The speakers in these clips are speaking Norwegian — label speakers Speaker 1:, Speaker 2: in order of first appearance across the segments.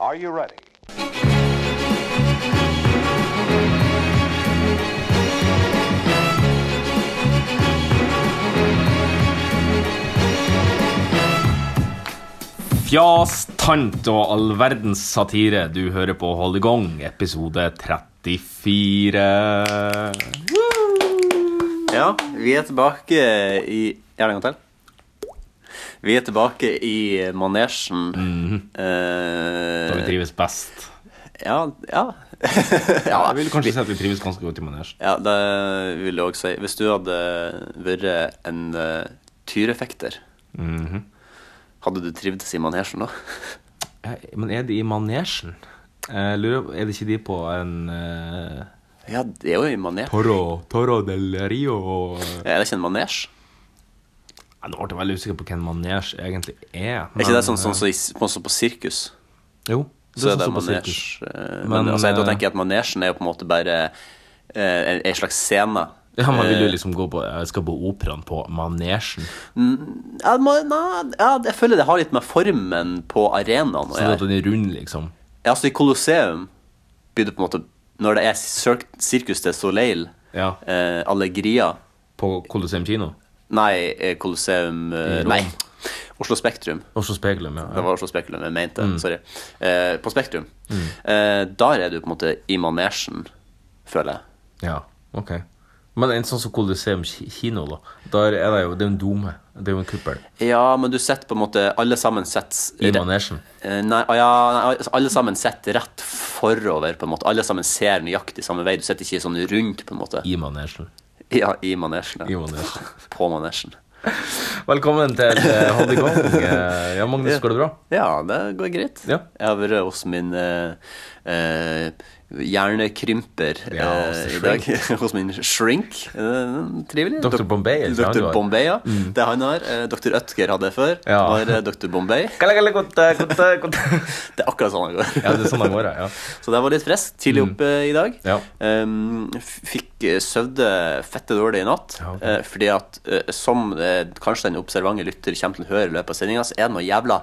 Speaker 1: Are you ready?
Speaker 2: Fjas, tant og all verdens satire. Du hører på Hold i gang, episode 34.
Speaker 3: Ja, vi er tilbake i Gjør det en gang til. Vi er tilbake i manesjen.
Speaker 2: Mhm. Da vi
Speaker 3: Eh,
Speaker 2: trives best.
Speaker 3: ja, ja. ja,
Speaker 2: Jeg vil kanskje si at vi trives ganske godt i manesj.
Speaker 3: ja, det vil jeg også si. Hvis du hadde vært en eh, tyrefekter,
Speaker 2: Mhm.
Speaker 3: hadde du trivdes i manesjen da?
Speaker 2: Eh, Men er de i manesjen? Jeg lurer, på- er det ikke de på en eh,
Speaker 3: Ja, det er jo i manesj.
Speaker 2: Toro, Toro del Rio Nei,
Speaker 3: Er det ikke en manesj?
Speaker 2: Nå ble jeg veldig usikker på hvem manesj egentlig er.
Speaker 3: Er ikke det
Speaker 2: men,
Speaker 3: sånn sånn som i- sånn som på sirkus?
Speaker 2: eh, Jo.
Speaker 3: Så er det
Speaker 2: sånn som på
Speaker 3: manesj.
Speaker 2: sirkus.
Speaker 3: eh,
Speaker 2: Men,
Speaker 3: Men altså, jeg- da
Speaker 2: eh,
Speaker 3: tenker jeg at manesjen er jo på en måte bare eh, en- en slags scene.
Speaker 2: Ja, man
Speaker 3: Eh.
Speaker 2: vil jo liksom gå på Jeg skal på operaen på manesjen.
Speaker 3: Ja, det må, nei, ja, jeg føler det har litt med formen på arenaen å
Speaker 2: Sånn at
Speaker 3: gjøre.
Speaker 2: den er rund, liksom.
Speaker 3: Ja, altså I Colosseum blir det på en måte Når det er Cirque, Circus de Soleil,
Speaker 2: Ja.
Speaker 3: eh, Allegria
Speaker 2: På Colosseum kino.
Speaker 3: Nei, eh, Colosseum eh,
Speaker 2: I Rom.
Speaker 3: Nei, Oslo Spektrum.
Speaker 2: Også Spekulum, ja.
Speaker 3: Det var Oslo Spektrum jeg mente.
Speaker 2: Mm.
Speaker 3: Sorry. Eh, på Spektrum. Eh, der er du på en måte i manesjen, føler jeg.
Speaker 2: Ja, ok. Men en sånn som Colosseum ki- kino, da. Der er det jo det er en dome. Det er jo en kuppel.
Speaker 3: Ja, men du sitter på en måte Alle
Speaker 2: I
Speaker 3: sammen sitter
Speaker 2: manesjen.
Speaker 3: Eh, Nei, ah, ja, nei, altså, alle sammen sitter rett forover, på en måte. Alle sammen ser nøyaktig samme vei. Du sitter ikke sånn rundt, på en måte.
Speaker 2: I manesjen.
Speaker 3: Ja, i manesjen.
Speaker 2: I
Speaker 3: Ja.
Speaker 2: manesjen.
Speaker 3: På manesjen.
Speaker 2: Velkommen til eh, Hold i gang. Eh, Ja, Magnus, går det bra?
Speaker 3: Ja, det går greit.
Speaker 2: Ja.
Speaker 3: Jeg har vært hos min eh, eh, hjernekrymper
Speaker 2: Ja,
Speaker 3: eh,
Speaker 2: altså,
Speaker 3: i dag. hos min shrink. Eh, trivelig.
Speaker 2: Dr.
Speaker 3: Dok-
Speaker 2: Bombay, ikke sant,
Speaker 3: Dr.
Speaker 2: du har?
Speaker 3: Bombay, ja. Det han har. Eh, Dr. Ødger hadde jeg før.
Speaker 2: Ja.
Speaker 3: Nå har eh, Dr. Bombay.
Speaker 2: Kalle, kalle, kotte, kotte, kotte.
Speaker 3: Det er akkurat sånn han går.
Speaker 2: Ja, det er sånn det går, ja.
Speaker 3: Så det var litt friskt. Tidlig oppe i dag.
Speaker 2: Mm. Ja.
Speaker 3: Ehm, f- fikk eh, sovde fette dårlig i natt.
Speaker 2: Ja, ok.
Speaker 3: eh, fordi at eh, som eh, kanskje den observante lytter kommer til å høre i løpet av sendinga, så er det noe jævla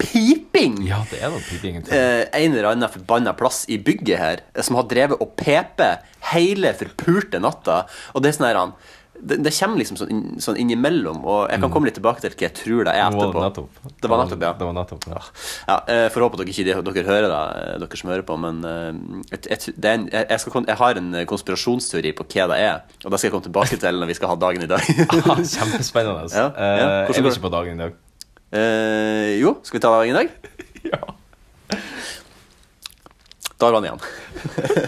Speaker 3: piping!
Speaker 2: Ja, det er da piping. egentlig.
Speaker 3: Eh, en eller annen forbanna plass i bygget her eh, som har drevet og pepet hele forpulte natta. Og det er sånn her han det, det kommer liksom sånn, inn- sånn innimellom, og jeg kan komme litt tilbake til hva jeg tror det er
Speaker 2: Nå var Mm. det
Speaker 3: etterpå.
Speaker 2: nettopp.
Speaker 3: Det var nettopp, ja.
Speaker 2: Det var nettopp, ja.
Speaker 3: Ja, eh, Får håpe at dere ikke det- dere hører det, eh, dere som hører på, men eh, et, et, det er en, jeg, jeg skal, kon- jeg har en eh, konspirasjonsteori på hva det er, og det skal jeg komme tilbake til når vi skal ha dagen i dag.
Speaker 2: Ah, Kjempespennende.
Speaker 3: Ja, ja.
Speaker 2: Eh, Jeg
Speaker 3: Hvordan går
Speaker 2: vil
Speaker 3: det?
Speaker 2: ikke på dagen i dag.
Speaker 3: eh, jo, skal vi ta dagen i dag?
Speaker 2: Ja.
Speaker 3: Da var den igjen.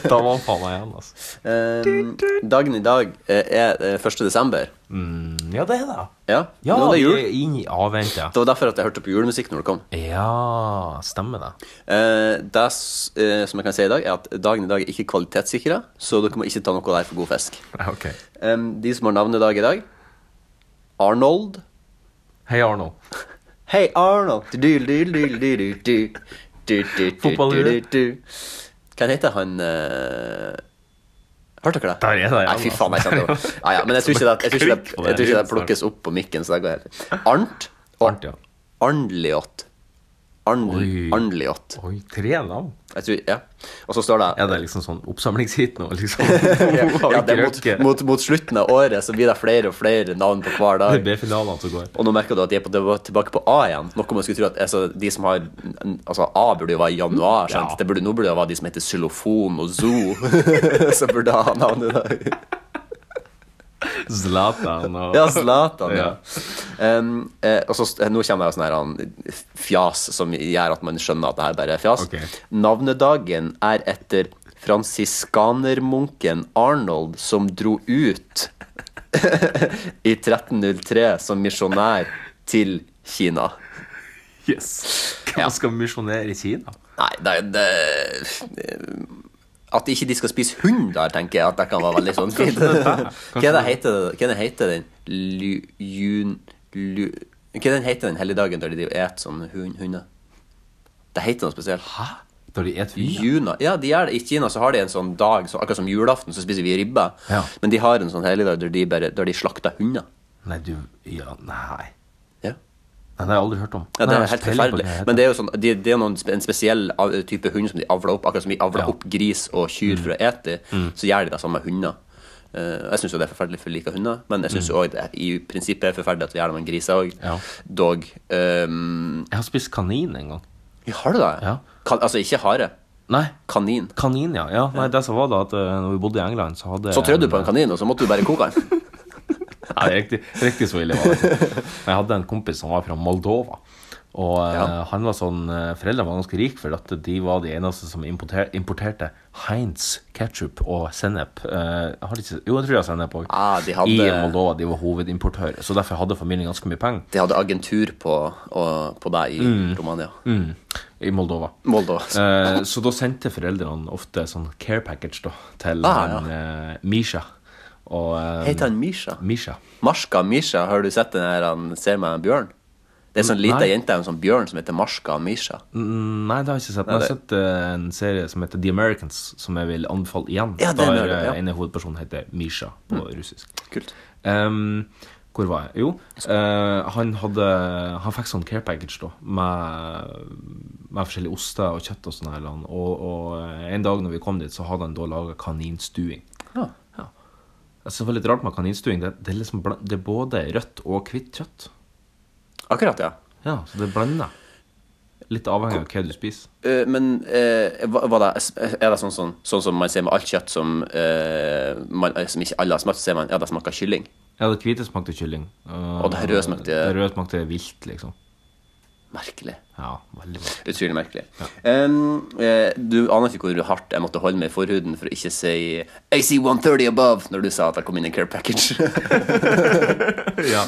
Speaker 2: Da var han faen meg igjen, altså.
Speaker 3: Eh, dagen i dag eh, er eh, 1. desember.
Speaker 2: Mm, Ja, det er det.
Speaker 3: Ja,
Speaker 2: Ja,
Speaker 3: nå er det jul.
Speaker 2: er inn i avvente.
Speaker 3: Det var derfor at jeg hørte på julemusikk når det kom.
Speaker 2: Ja, stemmer det.
Speaker 3: Eh, det s- eh, som jeg kan si i dag, er at dagen i dag er ikke kvalitetssikra, så dere må ikke ta noe der for god fisk.
Speaker 2: Ja, Ok.
Speaker 3: Em, de som har navnedag i dag Arnold.
Speaker 2: Hei, Arno.
Speaker 3: Hei, Arnold! Du, du, du, du, du, du, du. Du, du, du,
Speaker 2: Fotballhue.
Speaker 3: du, du, du. Hva heter han eh, Hørte dere det?
Speaker 2: Der er det, ja.
Speaker 3: Nei, fy faen, jeg kjente det. Ja, ja, men jeg tror ikke det, jeg tror ikke det, jeg tror ikke det plukkes opp på mikken. Så det går helt Arnt og
Speaker 2: Arnt, ja.
Speaker 3: Arnliot. Arn-
Speaker 2: Oi.
Speaker 3: Arnliot.
Speaker 2: Oi, tre navn?
Speaker 3: Jeg tror, ja. Og så står det
Speaker 2: Er det liksom sånn oppsamlingshit nå, liksom?
Speaker 3: ja, det er mot, mot, mot slutten av året så blir det flere og flere navn på hver
Speaker 2: Det er
Speaker 3: dag.
Speaker 2: B-finalene som går.
Speaker 3: Og nå merker du at de er på, det var tilbake på A igjen. Noe man skulle tro at altså, de som har Altså, A burde jo være i januar. Sant?
Speaker 2: Ja.
Speaker 3: Det burde, nå burde det være de som heter Xylofon og Zoo, som burde ha navnet i dag.
Speaker 2: Zlatan og
Speaker 3: Ja, Zlatan, ja.
Speaker 2: Ja.
Speaker 3: Em, eh, og så, st- nå kommer det jo sånn her han, fjas som gjør at man skjønner at det her bare er fjas.
Speaker 2: Ok.
Speaker 3: Navnedagen er etter fransiskanermunken Arnold som dro ut i 1303 som misjonær til Kina.
Speaker 2: Yes. Hvem skal misjonere i Kina?
Speaker 3: Nei, det, det At ikke de skal spise hund der, tenker jeg at det kan være veldig sånn fint. Hva er det heter, hva er det heter den Lu- jun... Lu, hva er den heter den helligdagen der de driver og et sånn hund, hunder? Det heter noe spesielt. Hæ?
Speaker 2: Da de et fyr?
Speaker 3: Juna. Ja, de gjør det. I Kina så har de en sånn dag, så akkurat som julaften, så spiser vi ribbe.
Speaker 2: Ja.
Speaker 3: Men de har en sånn helligdag der de, bare, der de slakter hunder.
Speaker 2: Nei, du Ja, nei. Nei,
Speaker 3: Ja.
Speaker 2: det har jeg aldri hørt om.
Speaker 3: Ja, det
Speaker 2: Nei, jeg
Speaker 3: er
Speaker 2: har
Speaker 3: helt
Speaker 2: ikke peiling på hva
Speaker 3: forferdelig.
Speaker 2: det heter.
Speaker 3: Men det er jo sånn, det, det er noen, spe- en spesiell av- type hund som de avler opp. Akkurat som de avler
Speaker 2: Ja. Mm.
Speaker 3: opp gris og kyr for å ete, så gjør de det samme med hunder. Eh, og jeg syns jo det er forferdelig for like hunder, men jeg syns jo òg det i prinsippet er forferdelig at vi gjør det med griser òg.
Speaker 2: Mm. Ja.
Speaker 3: Dog ehm,
Speaker 2: Jeg har spist kanin en gang.
Speaker 3: ja, Har du det?
Speaker 2: Ja.
Speaker 3: Kan, altså ikke hare.
Speaker 2: Nei,
Speaker 3: Kanin.
Speaker 2: kanin, ja. ja. Nei, det som var da, at eh, når vi bodde i England, så hadde
Speaker 3: Så trødde du på en kanin, og så måtte du bare koke den.
Speaker 2: Nei, det er riktig, riktig så ille var det. ikke. Men jeg hadde en kompis som var fra Moldova. Og eh,
Speaker 3: Ja.
Speaker 2: han var sånn eh, Foreldrene var ganske rike, for at de var de eneste som importer, importerte Heinz ketchup og sennep. Eh, har de ikke, jo, jeg tror de har sennep òg.
Speaker 3: Ah, de hadde-
Speaker 2: I Moldova de var hovedimportører. Så derfor hadde familien ganske mye penger
Speaker 3: De hadde agentur på, og, på deg i Romania.
Speaker 2: mm, i Moldova.
Speaker 3: Moldova.
Speaker 2: Eh, så da sendte foreldrene ofte sånn care package da, til
Speaker 3: Ah,
Speaker 2: han, eh, Misha. Og eh,
Speaker 3: Heter han Misha?
Speaker 2: Misha.
Speaker 3: Marska Misha, har du sett den her han ser meg en bjørn? Det er sånn lita
Speaker 2: Nei.
Speaker 3: jente, en sånn bjørn som heter Marska Misha.
Speaker 2: Mm, Nei, det har jeg ikke sett. Men jeg har sett eh, en serie som heter The Americans, som jeg vil anbefale igjen.
Speaker 3: Ja, den
Speaker 2: der
Speaker 3: er det, ja. Mm.
Speaker 2: eh, en av hovedpersonene heter Misha på russisk.
Speaker 3: Kult.
Speaker 2: Ehm, hvor var jeg? Jo, eh, han hadde Han fikk sånn care package, da, med, med forskjellige oster og kjøtt og sånn. her, land. Og, og eh, en dag når vi kom dit, så hadde han da laga kaninstuing.
Speaker 3: Ja.
Speaker 2: Altså, det var litt rart med kaninstuing. Det, det, er liksom, bla- det er både rødt og hvitt kjøtt.
Speaker 3: Akkurat, ja.
Speaker 2: Ja, så det blander. Litt avhengig av hva du spiser.
Speaker 3: Eh, men eh, hva, hva da, er det sånn, sånn, sånn som man ser med alt kjøtt som, eh, man, som ikke alle har smakt, så ser man ja, det smaker kylling?
Speaker 2: Ja, det hvite smakte kylling.
Speaker 3: Og det røde smakte-
Speaker 2: Det røde smakte vilt, liksom.
Speaker 3: Merkelig.
Speaker 2: Ja, veldig bra.
Speaker 3: Utrolig merkelig. Em, eh, du aner ikke hvor hardt jeg måtte holde meg i forhuden for å ikke si AC 130 above når du sa at jeg kom inn i care package.
Speaker 2: Ja.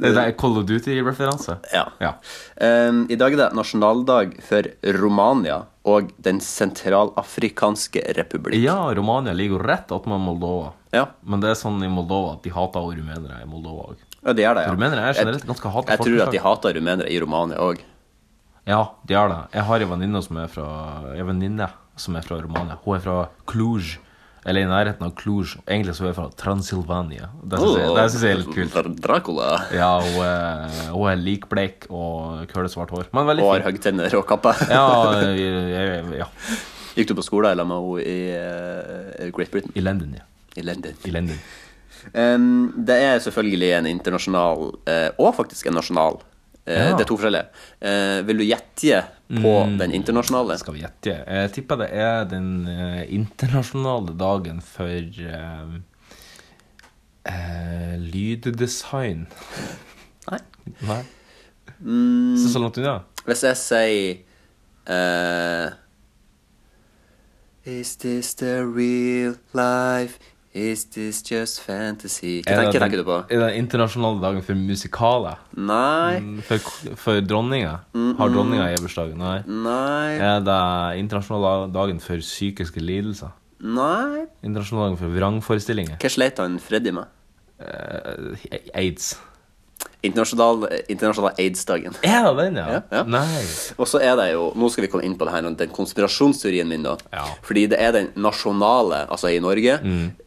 Speaker 2: Det det er Call of Duty-referanse.
Speaker 3: ja.
Speaker 2: Ja.
Speaker 3: Em, Ehm, I dag er det nasjonaldag for Romania og Den sentralafrikanske republikk.
Speaker 2: ja, Romania ligger jo rett attmed Moldova.
Speaker 3: Ja,
Speaker 2: Men det er sånn i Moldova at de hater også rumenere i Moldova òg.
Speaker 3: ja det er det, ja.
Speaker 2: Rumenere er generelt
Speaker 3: jeg,
Speaker 2: ganske hata
Speaker 3: jeg tror at de hater rumenere i Romania òg.
Speaker 2: Ja, de gjør det. Jeg har en venninne som er fra En venninne som er fra Romania. Hun er fra Cluj. Eller i nærheten av Cluj. Egentlig så er hun fra Transilvania. Det syns jeg, det synes jeg er litt kult.
Speaker 3: Dracula.
Speaker 2: Ja, hun er, hun er likbleik og kølesvart hår. Men veldig
Speaker 3: Og har
Speaker 2: fin.
Speaker 3: høytenner og kappe.
Speaker 2: Ja, jeg- jeg- ja.
Speaker 3: Gikk du på skolen eller med henne i eh, Great Britain?
Speaker 2: I London, ja.
Speaker 3: I London.
Speaker 2: I London.
Speaker 3: Em, det er selvfølgelig en internasjonal, eh, og faktisk en nasjonal. Eh,
Speaker 2: Ja. Mm.
Speaker 3: Det er to forskjellige. Eh, vil du gjette på den internasjonale?
Speaker 2: Skal vi gjette? Jeg tipper det er den eh, internasjonale dagen for eh, eh, lyddesign.
Speaker 3: Nei.
Speaker 2: Nei?
Speaker 3: Mm.
Speaker 2: Så så langt unna?
Speaker 3: Hvis jeg sier eh, Is this the real life? Is this just fantasy? Hva
Speaker 2: Er
Speaker 3: tenker,
Speaker 2: det
Speaker 3: hva tenker du på?
Speaker 2: den- Er det den internasjonale dagen for musikaler?
Speaker 3: Nei,
Speaker 2: For, for dronninga?
Speaker 3: Mm-hmm.
Speaker 2: Har dronninga i bursdag? Nei.
Speaker 3: nei,
Speaker 2: Er det internasjonale dagen for psykiske lidelser?
Speaker 3: nei.
Speaker 2: Internasjonale dagen for vrangforestillinger?
Speaker 3: Hva sleit han Freddy med?
Speaker 2: Eh, Aids.
Speaker 3: Internasjonal, internasjonal aids-dagen.
Speaker 2: Er det den, ja?
Speaker 3: Ja, ja.
Speaker 2: Nei.
Speaker 3: Og så er det jo, nå skal vi komme inn på det her, den konspirasjonsteorien min da.
Speaker 2: Ja. Mm.
Speaker 3: Fordi det er den nasjonale, altså i Norge,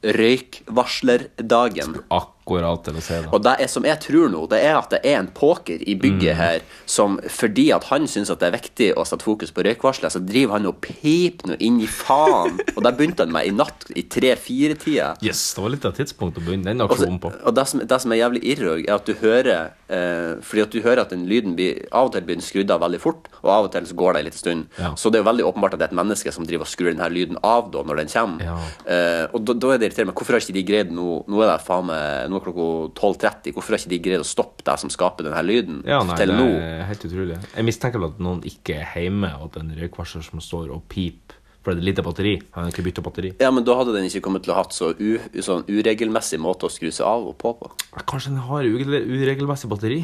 Speaker 3: røykvarslerdagen.
Speaker 2: Akkurat til å si det.
Speaker 3: Og det er, som jeg tror nå, det er at det er en poker i bygget her som fordi at han syns at det er viktig å sette fokus på røykvarsler, så driver han og piper nå inn i faen. og der begynte han med i natt i tre-fire-tida.
Speaker 2: Yes, det var litt av et tidspunkt å begynne den
Speaker 3: Og så-
Speaker 2: aksjonen på.
Speaker 3: Og det som, det som er jævlig irr, også, er at du hører eh, Fordi at du hører at den lyden blir, av og til blir den skrudd av veldig fort, og av og til så går det en liten stund.
Speaker 2: Ja.
Speaker 3: Så det er jo veldig åpenbart at det er et menneske som driver og skrur den her lyden av da, når den kommer.
Speaker 2: Ja.
Speaker 3: Eh, og da, da er det irriterende. Men hvorfor har ikke de greid nå Nå er det faen meg Nå er klokka 12.30. Hvorfor har ikke de greid å stoppe det som skaper den her lyden,
Speaker 2: Ja, nei,
Speaker 3: til
Speaker 2: det
Speaker 3: nå?
Speaker 2: er helt utrolig. Jeg mistenker vel at noen ikke er hjemme, og at det er en røykvarsler som står og piper fordi det er lite batteri. Han har ikke bytta batteri.
Speaker 3: Ja, men da hadde den ikke kommet til å hatt så u, sånn uregelmessig måte å skru seg av og på på.
Speaker 2: Kanskje den har ugel- uregelmessig batteri?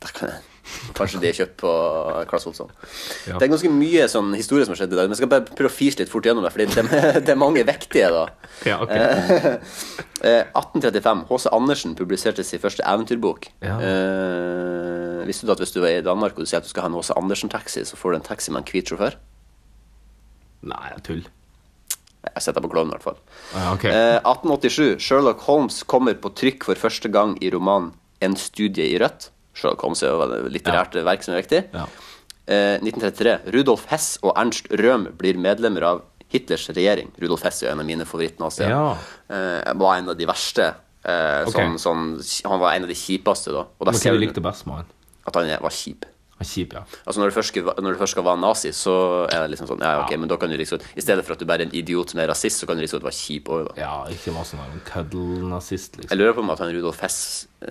Speaker 3: Det kan jeg. Kanskje de er kjøpt på Claes Olsson.
Speaker 2: Ja.
Speaker 3: Det er ganske mye sånn historie som har skjedd i dag. Men jeg skal bare prøve å fise litt fort gjennom det, Fordi det, det er mange viktige, da.
Speaker 2: Ja, ok.
Speaker 3: Eh, 1835. H.C. Andersen publiserte sin første eventyrbok.
Speaker 2: Ja.
Speaker 3: Eh, visste du at hvis du er i Danmark og du sier at du skal ha en H.C. Andersen-taxi, så får du en taxi med en hvit sjåfør?
Speaker 2: Nei, jeg tull.
Speaker 3: Jeg setter deg på klovnen, i hvert fall.
Speaker 2: Ah, Ja, ok.
Speaker 3: Eh, 1887. Sherlock Holmes kommer på trykk for første gang i romanen En studie i rødt. Sherlock Holmes er jo et litterært verk som er viktig.
Speaker 2: Ja.
Speaker 3: Eh, 1933. Rudolf Hess og Ernst Røhm blir medlemmer av Hitlers regjering. Rudolf Hess er jo en av mine favorittnazier.
Speaker 2: Ja.
Speaker 3: Eh, var en av de verste. Eh,
Speaker 2: Ok.
Speaker 3: som, som, han var en av de kjipeste, da. Og
Speaker 2: Men Hva er
Speaker 3: sier
Speaker 2: det du
Speaker 3: du
Speaker 2: likte best med han?
Speaker 3: at han er- var kjip.
Speaker 2: Han er kjip, ja.
Speaker 3: Altså når du, først, skal- når du først skal være nazi, så er det liksom sånn Ja, ok, men da kan du liksom I stedet for at du bare er en idiot som er rasist, så kan du liksom være kjip òg, da.
Speaker 2: Ja, ikke var sånn en køddelnazist,
Speaker 3: Jeg
Speaker 2: liksom.
Speaker 3: lurer på om at han Rudolf Hess eh,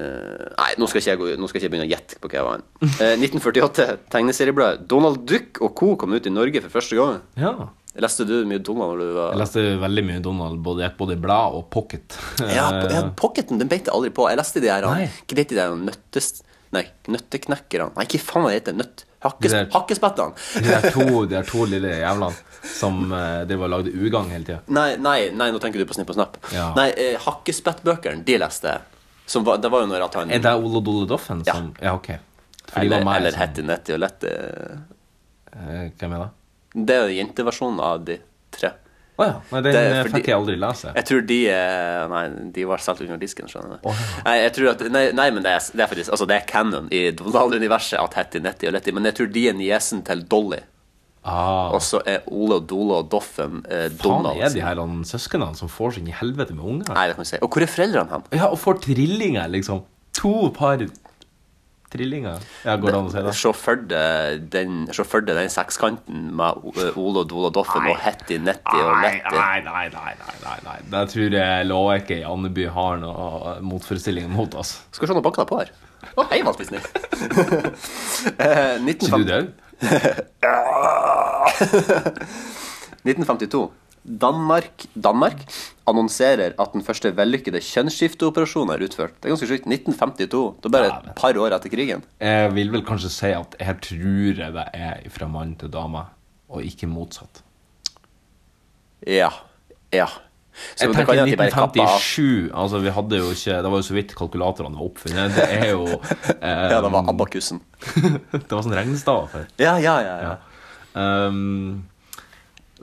Speaker 3: Nei, nå skal ikke jeg, gå, nå skal ikke jeg begynne å gjette på hva jeg var. han. Eh, 1948, tegneseriebladet Donald Duck og co. kom ut i Norge for første gang.
Speaker 2: Ja.
Speaker 3: Leste du mye Donald når du var
Speaker 2: Jeg leste veldig mye Donald, både, både i blad og pocket.
Speaker 3: Ja, po- ja pocketen den beit jeg aldri på. Jeg leste de der
Speaker 2: Nei.
Speaker 3: Ikke det de der nøttes... Nei, nøtteknekkerne. Nei, hva faen heter det? Nøtt... Hakkes,
Speaker 2: De der-
Speaker 3: hakkespettene.
Speaker 2: De der to, de der to lille jævlene som eh, driver og lagde ugagn hele tida.
Speaker 3: Nei, nei, nei, nå tenker du på Snipp og Snapp.
Speaker 2: Ja.
Speaker 3: Nei, eh, Hakkespettbøkene, de leste jeg. Som var, det var jo når at han
Speaker 2: Er det Ole Dole Doffen
Speaker 3: Ja.
Speaker 2: som Ja, OK. For de
Speaker 3: Eller,
Speaker 2: var meg liksom.
Speaker 3: eller
Speaker 2: som-
Speaker 3: Hetty Netty og Lette
Speaker 2: Eh, Hvem er det?
Speaker 3: Det er jo jenteversjonen av de tre.
Speaker 2: Å ja. Nei, den
Speaker 3: Det er
Speaker 2: eh,
Speaker 3: fordi-
Speaker 2: fikk jeg aldri lese.
Speaker 3: Jeg tror de eh, Nei, de var solgt under disken, skjønner du.
Speaker 2: Åh.
Speaker 3: Nei, jeg tror at, nei, nei, men det er, det er faktisk Altså, det er canon i Donald-universet at Hetty Netty og Letty, men jeg tror de er niesen til Dolly.
Speaker 2: Ah,
Speaker 3: Og så er Ole og Dole og Doffen eh,
Speaker 2: faen
Speaker 3: Donald.
Speaker 2: er de her han, søsknene som får sin i helvete med unger?
Speaker 3: Nei, det kan vi si. Og hvor er foreldrene hen?
Speaker 2: Ja, og får trillinger, liksom. To par trillinger. Ja, går det an å si det?
Speaker 3: Se for deg den, se for deg den sekskanten med eh, Ole og Dole og Doffen og Hetty Netty og
Speaker 2: Nei,
Speaker 3: Letty.
Speaker 2: nei, nei, nei, nei, nei, nei. Det tror jeg lovverket i Andeby har noe motforestilling mot, altså.
Speaker 3: Skal vi se, nå banker jeg på her. Å, hei, Valtis Nick. Eh,
Speaker 2: Er ikke
Speaker 3: 1950
Speaker 2: du død?
Speaker 3: 1952. Danmark, Danmark annonserer at den første vellykkede kjønnsskifteoperasjonen er utført. Det er ganske sjukt. 1952. Da bare et par år etter krigen.
Speaker 2: Jeg vil vel kanskje si at jeg tror jeg det er fra mann til dame, og ikke motsatt.
Speaker 3: Ja. Ja. Så
Speaker 2: Jeg
Speaker 3: det kan
Speaker 2: tenker
Speaker 3: jo at de bare kappa av.
Speaker 2: 1957 altså vi hadde jo ikke, Det var jo så vidt kalkulatorene var oppfunnet. Det er jo eh,
Speaker 3: Ja, det var abakusen.
Speaker 2: Det var sånn regnestav før.
Speaker 3: Ja, ja, ja. ja.
Speaker 2: Um,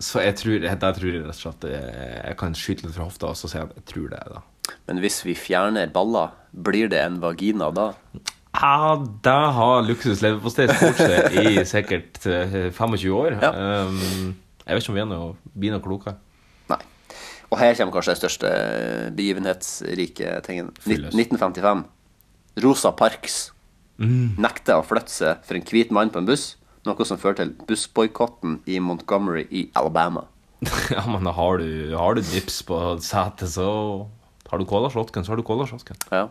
Speaker 2: så jeg tror, jeg, der tror jeg rett og slett eh, jeg kan skyte litt fra hofta og så si at jeg tror det er det.
Speaker 3: Men hvis vi fjerner baller, blir det en vagina da?
Speaker 2: Ja, det har luksus leverpostei spurt seg i sikkert eh, 25 år.
Speaker 3: Ja.
Speaker 2: Um, jeg vet ikke om vi er noe, blir noe klokere.
Speaker 3: Nei. Og her kommer kanskje den største begivenhetsrike tingen. Nitt-
Speaker 2: Fyllest.
Speaker 3: 1955. Rosa Parks
Speaker 2: Mm.
Speaker 3: nekter å flytte seg for en hvit mann på en buss, noe som fører til bussboikotten i Montgomery i Alabama.
Speaker 2: Ja, men da har du, har du dips på setet, så har du cola shotgun, så har du cola shotgun.
Speaker 3: Ja.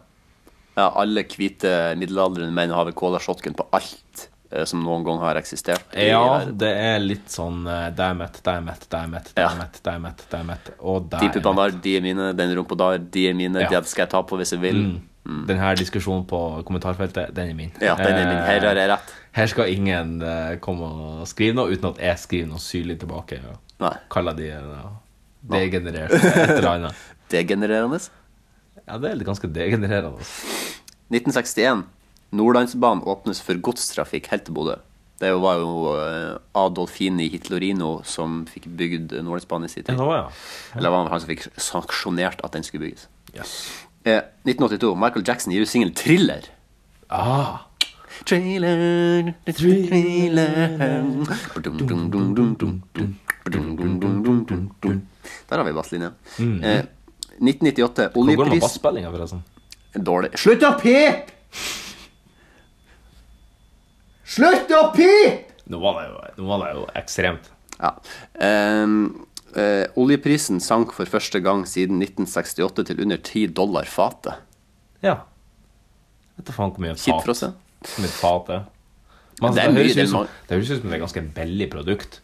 Speaker 3: ja alle hvite middelaldrende menn har vel cola shotgun på alt eh, som noen gang har eksistert. i
Speaker 2: Ja,
Speaker 3: verden.
Speaker 2: det er litt sånn eh, Det er mett, det er mett, det er mett, det
Speaker 3: Ja.
Speaker 2: er mett, det er mett, det er mett og det
Speaker 3: De
Speaker 2: er mett.
Speaker 3: puppene der, de er mine. Den rumpa der, de er mine.
Speaker 2: Ja. Mm.
Speaker 3: De skal jeg ta på hvis jeg vil.
Speaker 2: Denne diskusjonen på kommentarfeltet, den er min.
Speaker 3: Ja, den er min. Her har
Speaker 2: Eh,
Speaker 3: jeg rett.
Speaker 2: Her skal ingen eh, komme og skrive noe uten at jeg skriver noe syrlig tilbake. Ja.
Speaker 3: Nei.
Speaker 2: Kaller de eh, degenerert et eller annet.
Speaker 3: Degenererende.
Speaker 2: Ja, det er litt ganske degenererende. altså.
Speaker 3: 1961. Nordlandsbanen åpnes for godstrafikk helt til Bodø. Det var jo eh, Adolfini Hitlerino som fikk bygd Nordlandsbanen i sin tid.
Speaker 2: Ja, ja.
Speaker 3: Eller var det han som fikk sanksjonert at den skulle bygges?
Speaker 2: Yes.
Speaker 3: Eh, 1982. Michael Jackson gir ut singelen 'Thriller'.
Speaker 2: Ah,
Speaker 3: Thriller, thriller
Speaker 2: Mm.
Speaker 3: Der har vi basslinja. Eh,
Speaker 2: Mm. hvor går det
Speaker 3: 1998.
Speaker 2: med
Speaker 3: Oljepris
Speaker 2: basspillinga, forresten?
Speaker 3: Dårlig. Slutt å pipe! Slutt å pipe!
Speaker 2: Nå var det jo, nå var det jo ekstremt.
Speaker 3: Ja. Ehm, eh, oljeprisen sank for første gang siden 1968 til under 10 dollar fatet.
Speaker 2: Ja. Vet du faen hvor mye
Speaker 3: Kjipt for oss,
Speaker 2: fat
Speaker 3: ja.
Speaker 2: Hvor mye fat er. Men
Speaker 3: Det
Speaker 2: altså,
Speaker 3: er
Speaker 2: det,
Speaker 3: mye,
Speaker 2: høres
Speaker 3: det er
Speaker 2: ut som,
Speaker 3: mange-
Speaker 2: det høres ut som det er ganske billig produkt.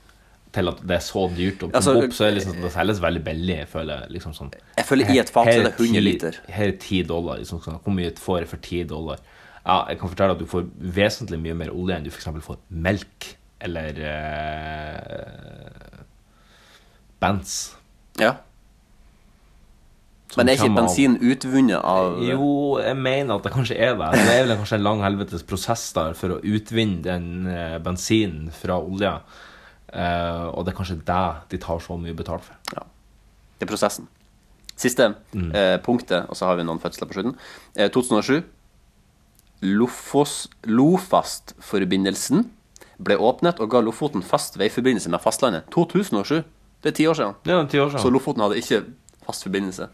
Speaker 2: Til at det er så dyrt å pumpe
Speaker 3: Altså,
Speaker 2: opp, så er det liksom, det selges veldig billig. Jeg føler liksom sånn
Speaker 3: Jeg føler i et fat så er det 100
Speaker 2: ti-
Speaker 3: liter.
Speaker 2: Her er 10 dollar. Liksom, sånn, hvor mye får jeg for 10 dollar? Ja, jeg kan fortelle at du får vesentlig mye mer olje enn du f.eks. får melk eller eh, Benz.
Speaker 3: Ja. Men er ikke bensin utvunnet av
Speaker 2: Jo, jeg mener at det kanskje er det. Det er vel kanskje en lang helvetes prosess der for å utvinne den eh, bensinen fra olja. Eh, og det er kanskje det de tar så mye betalt for.
Speaker 3: Ja. Det er prosessen.
Speaker 2: Mm.
Speaker 3: Siste eh, punktet, og så har vi noen fødsler på slutten. Eh, 2007. Lofos, Lofast-forbindelsen ble åpnet og ga Lofoten fast veiforbindelse med fastlandet. 2007. Det er ti år siden.
Speaker 2: Ja, det er ti år siden.
Speaker 3: Så Lofoten hadde ikke fast forbindelse.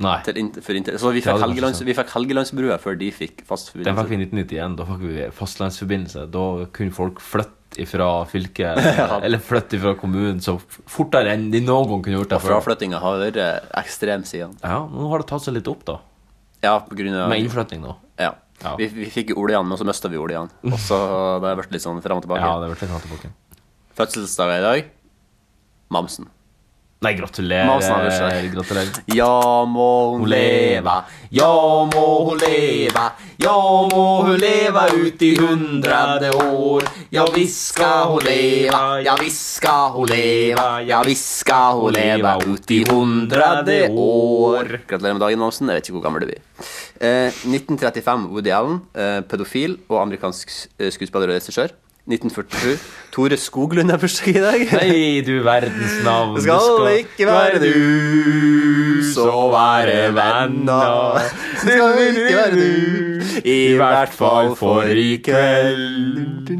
Speaker 2: Nei.
Speaker 3: Til inter, for inter. Så
Speaker 2: Ja,
Speaker 3: vi fikk,
Speaker 2: det var
Speaker 3: Helgelands,
Speaker 2: ikke
Speaker 3: vi fikk Helgelandsbrua før de fikk fast
Speaker 2: Den fikk
Speaker 3: forbindelse.
Speaker 2: vi i 1991. Da fikk vi fastlandsforbindelse. Da kunne folk flytte ifra fylket, eller flytte ifra kommunen, så f- fortere enn de noen gang kunne gjort det
Speaker 3: Og
Speaker 2: før.
Speaker 3: fraflyttinga har vært eh, ekstrem siden.
Speaker 2: Ja, men nå har det tatt seg litt opp, da.
Speaker 3: Ja, på grunn av
Speaker 2: Med innflytting nå.
Speaker 3: ja.
Speaker 2: Ja.
Speaker 3: Vi, vi fikk Olean, men så mista vi Olean. Og så det har vært litt sånn fram og tilbake.
Speaker 2: Ja, det har vært litt hardt tilbake.
Speaker 3: Fødselsdag i dag. Mamsen.
Speaker 2: Nei,
Speaker 3: Masen har
Speaker 2: gratulerer.
Speaker 3: bursdag.
Speaker 2: gratulerer.
Speaker 3: Ja, må hun leva, ja, må hun leva, ja, må hun leva ut i hundrade år. Ja visst skal hun leva, ja visst skal hun leva, ja visst skal hun leva ut i hundrade år. Gratulerer med dagen, Mamsen. Jeg vet ikke hvor gammel du blir. Eh, 1935 Woody Allen, eh, pedofil og amerikansk s- eh, skuespiller og regissør. 1947 Tore Skoglund har bursdag i dag.
Speaker 2: Nei, du verdens navn.
Speaker 3: Det skal ikke være du, så være venner. Det skal ikke være du, i hvert fall for i kveld.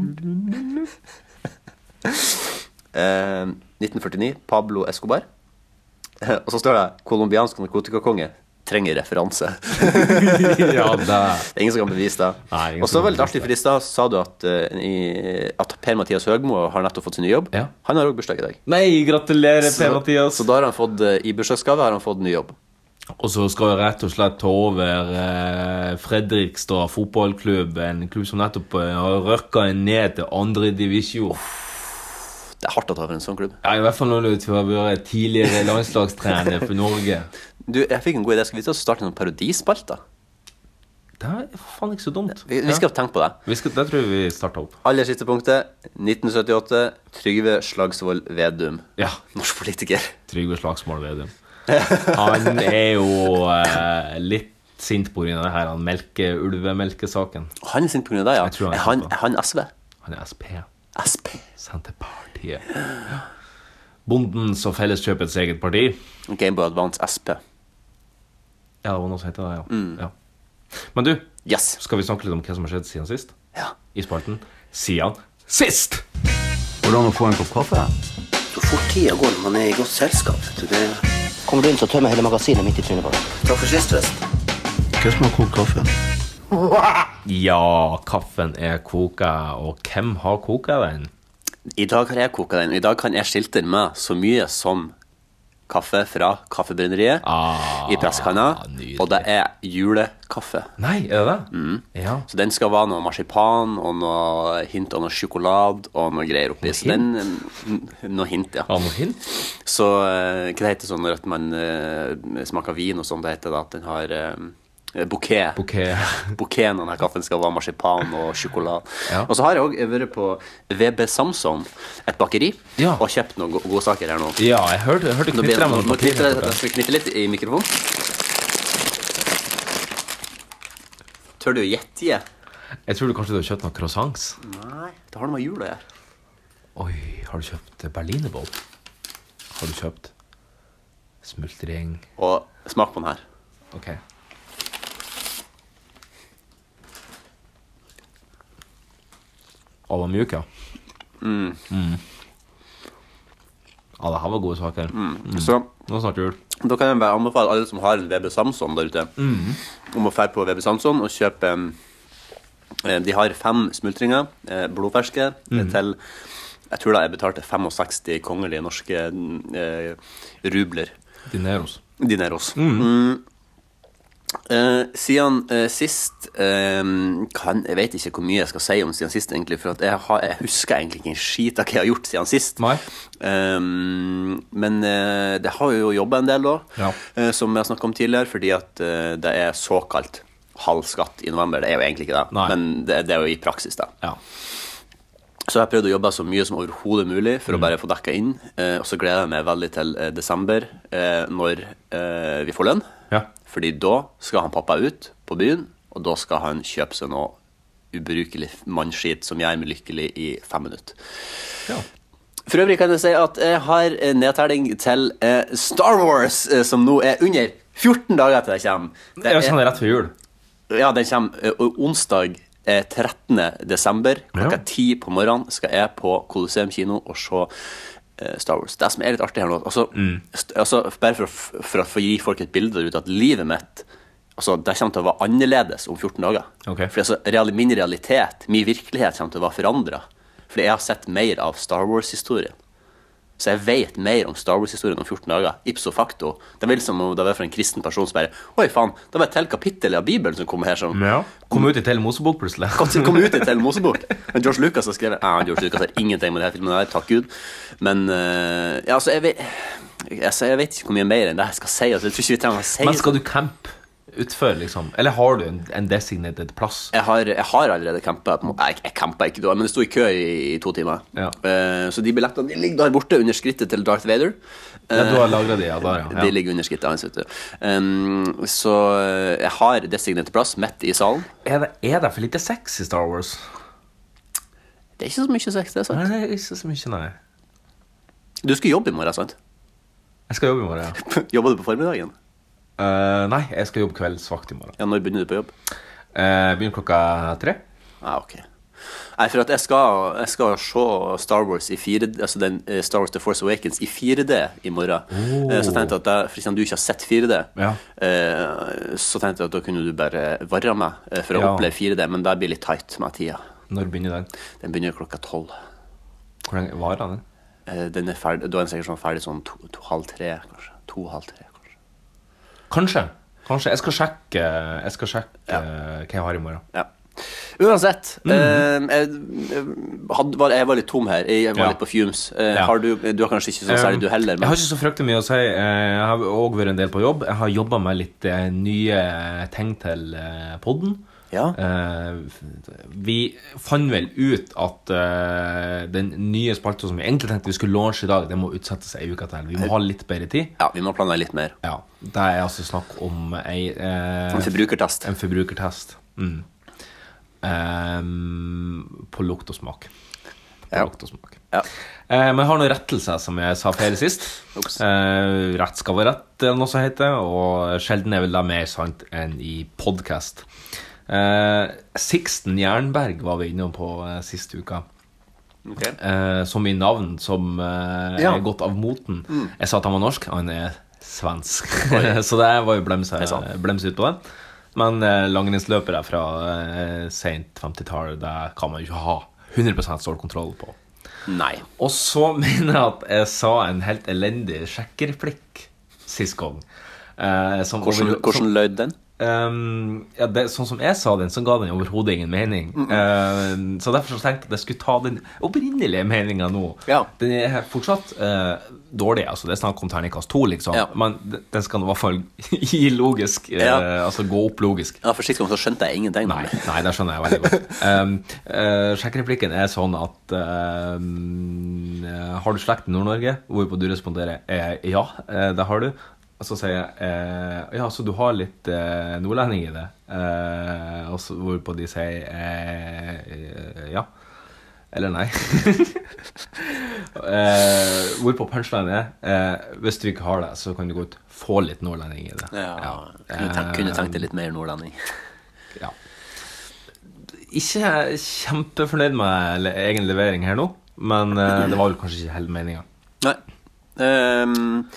Speaker 3: Eh, 1949, Pablo Escobar. Eh, Og så står det 'Colombiansk narkotikakonge trenger referanse'.
Speaker 2: ja, det.
Speaker 3: Det er ingen som kan bevise det.
Speaker 2: Nei, ingen
Speaker 3: og så
Speaker 2: som kan
Speaker 3: veldig artig,
Speaker 2: bevise det.
Speaker 3: for i stad sa du at, eh, i- at Per-Mathias Høgmo har nettopp fått sin nye jobb.
Speaker 2: Ja.
Speaker 3: Han har òg bursdag i dag.
Speaker 2: Nei, gratulerer,
Speaker 3: Så, så da har han fått, eh, i bursdagsgave har han fått ny jobb.
Speaker 2: Og så skal jeg rett og slett ta over eh, Fredrikstad fotballklubb, en klubb som nettopp eh, har røkka ned til andre divisjon.
Speaker 3: Det er hardt å ta for en sånn klubb.
Speaker 2: Ja, I hvert fall når du har vært tidligere landslagstrener for Norge.
Speaker 3: Du, jeg fikk en sånn god idé. Skal vi ta og starte noen parodispalter?
Speaker 2: Det er faen ikke så dumt.
Speaker 3: Vi, vi skal tenke på det.
Speaker 2: Ja. vi skal, det tror jeg vi starter opp.
Speaker 3: Aller siste punktet. 1978. Trygve Slagsvold Vedum.
Speaker 2: Ja.
Speaker 3: Norsk politiker.
Speaker 2: Trygve Slagsmål Vedum. Han er jo eh, litt sint pga. det her han melke, ulvemelkesaken.
Speaker 3: Han er sint pga. deg, ja.
Speaker 2: Jeg tror han er
Speaker 3: Er han,
Speaker 2: sint,
Speaker 3: er han SV?
Speaker 2: Han er SP.
Speaker 3: SP.
Speaker 2: Senterpartiet. Bondens og Felleskjøpets eget parti.
Speaker 3: Game Boy Advance SP.
Speaker 2: Ja, det var noe som het det, ja.
Speaker 3: Mm.
Speaker 2: ja. Men du,
Speaker 3: Yes.
Speaker 2: skal vi snakke litt om hva som har skjedd siden sist?
Speaker 3: Ja.
Speaker 2: I spalten Siden sist!
Speaker 1: Hvordan å få en kopp kaffe?
Speaker 4: Så fort tida går når man er i godt selskap. vet du, Det
Speaker 5: Kommer du inn, så tømmer jeg hele magasinet midt i trynet på deg.
Speaker 4: Takk for sist, forresten.
Speaker 1: Hva som har kokt kaffe?
Speaker 2: Ja, kaffen er koka, og hvem har koka den?
Speaker 3: I dag har jeg koka den. I dag kan jeg skilte den med så mye som kaffe fra Kaffebrenneriet
Speaker 2: Ah,
Speaker 3: i presskanna.
Speaker 2: nydelig.
Speaker 3: Og det Mm. er julekaffe.
Speaker 2: Nei, er det det? Ja.
Speaker 3: Så den skal være noe marsipan og noe hint av noe sjokolade og noe greier oppi. Så den, mm, noe hint, ja.
Speaker 2: Har noe hint?
Speaker 3: Så eh, hva det heter sånn når at man eh, smaker vin og sånn, det heter da at den har eh, bouquet.
Speaker 2: Bouquet.
Speaker 3: Bouqueten av denne kaffen skal være marsipan og sjokolade.
Speaker 2: Ja.
Speaker 3: Og så har jeg òg vært på VB Samson, et bakeri,
Speaker 2: Ja.
Speaker 3: og kjøpt noen go- godsaker her nå.
Speaker 2: Ja, jeg hørte, jeg hørte
Speaker 3: Nå blir det-
Speaker 2: knitre med
Speaker 3: nå
Speaker 2: noen
Speaker 3: knitter
Speaker 2: papirer
Speaker 3: jeg- jeg
Speaker 2: borte.
Speaker 3: skal knitte litt i mikrofonen. Tør du å gjette? Gie?
Speaker 2: Jeg tror du kanskje du har kjøpt noen croissants?
Speaker 3: Nei, det har noe med jul å gjøre.
Speaker 2: Oi, har du kjøpt berlinerboll? Har du kjøpt smultring?
Speaker 3: Og smak på den her.
Speaker 2: Ok. Å, var mjuk, ja. Mm. Ja, det her var gode saker.
Speaker 3: Så
Speaker 2: Nå er det snart jul.
Speaker 3: da kan jeg bare anbefale alle som har en VB Samson der ute, om å dra på VB Samson og kjøpe em, eh, De har fem smultringer, eh, blodferske, eh, til Jeg tror da jeg betalte 65 kongelige norske eh, rubler.
Speaker 2: Dineros.
Speaker 3: Dineros. Mm. Eh, siden eh, sist eh, kan, Jeg vet ikke hvor mye jeg skal si om siden sist, egentlig, for at jeg, har, jeg husker egentlig ikke en skit av hva jeg har gjort siden sist.
Speaker 2: Nei.
Speaker 3: Eh, men eh, det har jo jobba en del, da,
Speaker 2: Ja.
Speaker 3: eh, som jeg har snakka om tidligere, fordi at eh, det er såkalt halv skatt i november. Det er jo egentlig ikke det,
Speaker 2: Nei.
Speaker 3: men det, det er jo i praksis, da.
Speaker 2: Ja.
Speaker 3: Så jeg har prøvd å jobbe så mye som overhodet mulig for
Speaker 2: Mm.
Speaker 3: å bare få dekka inn. Eh, og så gleder jeg meg veldig til eh, desember, eh, når eh, vi får lønn.
Speaker 2: Ja.
Speaker 3: Fordi da skal han pappa ut på byen, og da skal han kjøpe seg noe ubrukelig mannskit som gjør meg lykkelig i fem minutter.
Speaker 2: Ja.
Speaker 3: For øvrig kan jeg si at jeg har eh, nedtelling til eh, Star Wars, eh, som nå er under 14 dager til det kommer.
Speaker 2: sånn? Det er sånn rett før jul.
Speaker 3: Ja, den kommer eh, onsdag eh, 13. desember klokka
Speaker 2: Ja.
Speaker 3: 10 på morgenen. Skal jeg på Colosseum kino og se eh, Star Wars. Det som er litt artig her nå altså, st- altså, Bare for, å f- for å få gi folk et bilde der ute at livet mitt altså, det kommer til å være annerledes om 14 dager.
Speaker 2: Ok.
Speaker 3: For altså, real, min realitet, min virkelighet, kommer til å være forandra. Fordi jeg har sett mer av Star Wars-historien. Så jeg vet mer om Star Wars-historien om 14 dager. Ipso facto. Det er vel som om det var for en kristen person som bare Oi, faen, det var et helt kapittel av Bibelen som kom her som
Speaker 2: Ja. Kom ut i Tele Mosebok plutselig.
Speaker 3: Kom- kom ut i Tell Mosebok. Men George Lucas har skrevet Ja, George Lucas har ingenting med denne filmen der, takk Gud. Men eh, ja, altså, jeg vet altså, Jeg vet ikke hvor mye mer enn det jeg skal si. Altså, jeg tror ikke vi trenger å si
Speaker 2: Men skal du campe utfor, liksom? Eller har du en, en designated plass?
Speaker 3: jeg har, jeg har allerede campa. på en måte. Jeg, jeg campa ikke da, men jeg sto i kø i, i to timer.
Speaker 2: Ja.
Speaker 3: Eh, så de billettene de ligger der borte under skrittet til Darth Vader.
Speaker 2: Ja, du har lagret de, ja, der, ja.
Speaker 3: De
Speaker 2: Ja.
Speaker 3: ligger under skrittet hans, vet du. Um, så jeg har designert plass midt i salen.
Speaker 2: Er det, er det for lite sex i Star Wars?
Speaker 3: Det er ikke så mye sex, det er sant.
Speaker 2: Nei, det er ikke så mye, nei.
Speaker 3: Du skal jobbe i morgen, sant?
Speaker 2: Jeg skal jobbe i morgen, ja.
Speaker 3: Jobber du på formiddagen?
Speaker 2: Eh, nei, jeg skal jobbe kveldsvakt i morgen.
Speaker 3: Ja, når begynner du på jobb?
Speaker 2: Eh, begynner klokka tre.
Speaker 3: Ja, ok. Nei, for at jeg skal, jeg skal se Star Wars i 4D, altså den eh, Star Wars The Force Awakens i 4D i morgen.
Speaker 2: Oh.
Speaker 3: Eh, Så tenkte jeg at jeg, for siden du ikke har sett 4D,
Speaker 2: Ja.
Speaker 3: eh, så tenkte jeg at da kunne du bare varre meg eh, for å
Speaker 2: Ja.
Speaker 3: oppleve 4D, men det blir litt tight med tida.
Speaker 2: Når begynner den?
Speaker 3: Den begynner klokka tolv.
Speaker 2: Hvor lenge varer den?
Speaker 3: Eh, Den er ferdig, da er den sikkert sånn ferdig sånn to, to halv tre, kanskje. To halv tre, kanskje.
Speaker 2: Kanskje. Kanskje. Jeg skal sjekke, jeg skal sjekke eh, hva jeg har i morgen.
Speaker 3: Ja. Uansett,
Speaker 2: Mhm.
Speaker 3: eh, jeg, jeg hadde, var, jeg var litt tom her. Jeg var
Speaker 2: Ja.
Speaker 3: litt på fumes. Eh,
Speaker 2: Ja.
Speaker 3: Har du, du har kanskje ikke sånn særlig du heller,
Speaker 2: Eh, Jeg
Speaker 3: men
Speaker 2: har ikke så fryktelig mye å si. Eh, Jeg har òg vært en del på jobb. Jeg har jobba med litt eh, nye ting til eh, podden.
Speaker 3: Ja.
Speaker 2: Eh, Vi fant vel ut at eh, den nye spalta som vi egentlig tenkte vi skulle launche i dag, det må utsette seg ei uke til. Vi
Speaker 3: Eh,
Speaker 2: må ha litt bedre tid.
Speaker 3: ja, vi må planlegge litt mer.
Speaker 2: Ja, Det er altså snakk om ei eh,
Speaker 3: En forbrukertest.
Speaker 2: en forbrukertest. Mm. Ehm, på lukt og smak. På
Speaker 3: Ja.
Speaker 2: lukt og smak.
Speaker 3: Ja.
Speaker 2: Eh, men jeg har noen rettelser, som jeg sa feil sist.
Speaker 3: Ups.
Speaker 2: Eh, rett skal være rett, eller noe som heter. Og sjelden er vel det mer sant enn i podkast. Eh, Sixten Jernberg var vi innom på eh, sist uka. Eh, som i navn som eh,
Speaker 3: Ja. Mm.
Speaker 2: er gått av moten. Jeg sa at han var norsk, han er svensk. så det var jo blems, eh,
Speaker 3: er sant.
Speaker 2: blems ut på den. Men eh, langrennsløpere fra eh, sent 50-tall, det kan man jo ikke ha 100 stålkontroll på.
Speaker 3: Nei.
Speaker 2: Og så mener jeg at jeg sa en helt elendig sjekkerplikk sist gang. Eh, som
Speaker 3: Hvordan,
Speaker 2: overho- som-
Speaker 3: hvordan lød den?
Speaker 2: Ehm, ja, det, sånn som jeg sa den, så ga den overhodet ingen mening. Ehm, så derfor så tenkte jeg at jeg skulle ta den opprinnelige meninga nå.
Speaker 3: Ja.
Speaker 2: Den er fortsatt eh, dårlig, altså det er snakk om terningkast to, liksom.
Speaker 3: Ja.
Speaker 2: Men d- den skal i hvert fall gi logisk, eh,
Speaker 3: Ja.
Speaker 2: altså gå opp logisk.
Speaker 3: Ja, for sist gang så skjønte jeg ingenting.
Speaker 2: Nei, nei, det skjønner jeg veldig godt. Um, eh, Sjekkereplikken er sånn at ehm, eh, Har du slekt i Nord-Norge? Hvorpå du responderer eh, ja, eh, det har du. Og så sier jeg eh, ja, så du har litt eh, nordlending i det? Eh, og så hvorpå de sier eh, ja. Eller nei. eh, hvorpå punchline er eh, Hvis du ikke har det, så kan du godt få litt nordlending i det.
Speaker 3: Ja, Kunne, tenkt, kunne tenkt
Speaker 2: eh,
Speaker 3: deg litt mer nordlending.
Speaker 2: Ja. Ikke kjempefornøyd med le- egen levering her nå, men eh, det var vel kanskje ikke hele meninga.
Speaker 3: Nei. Um,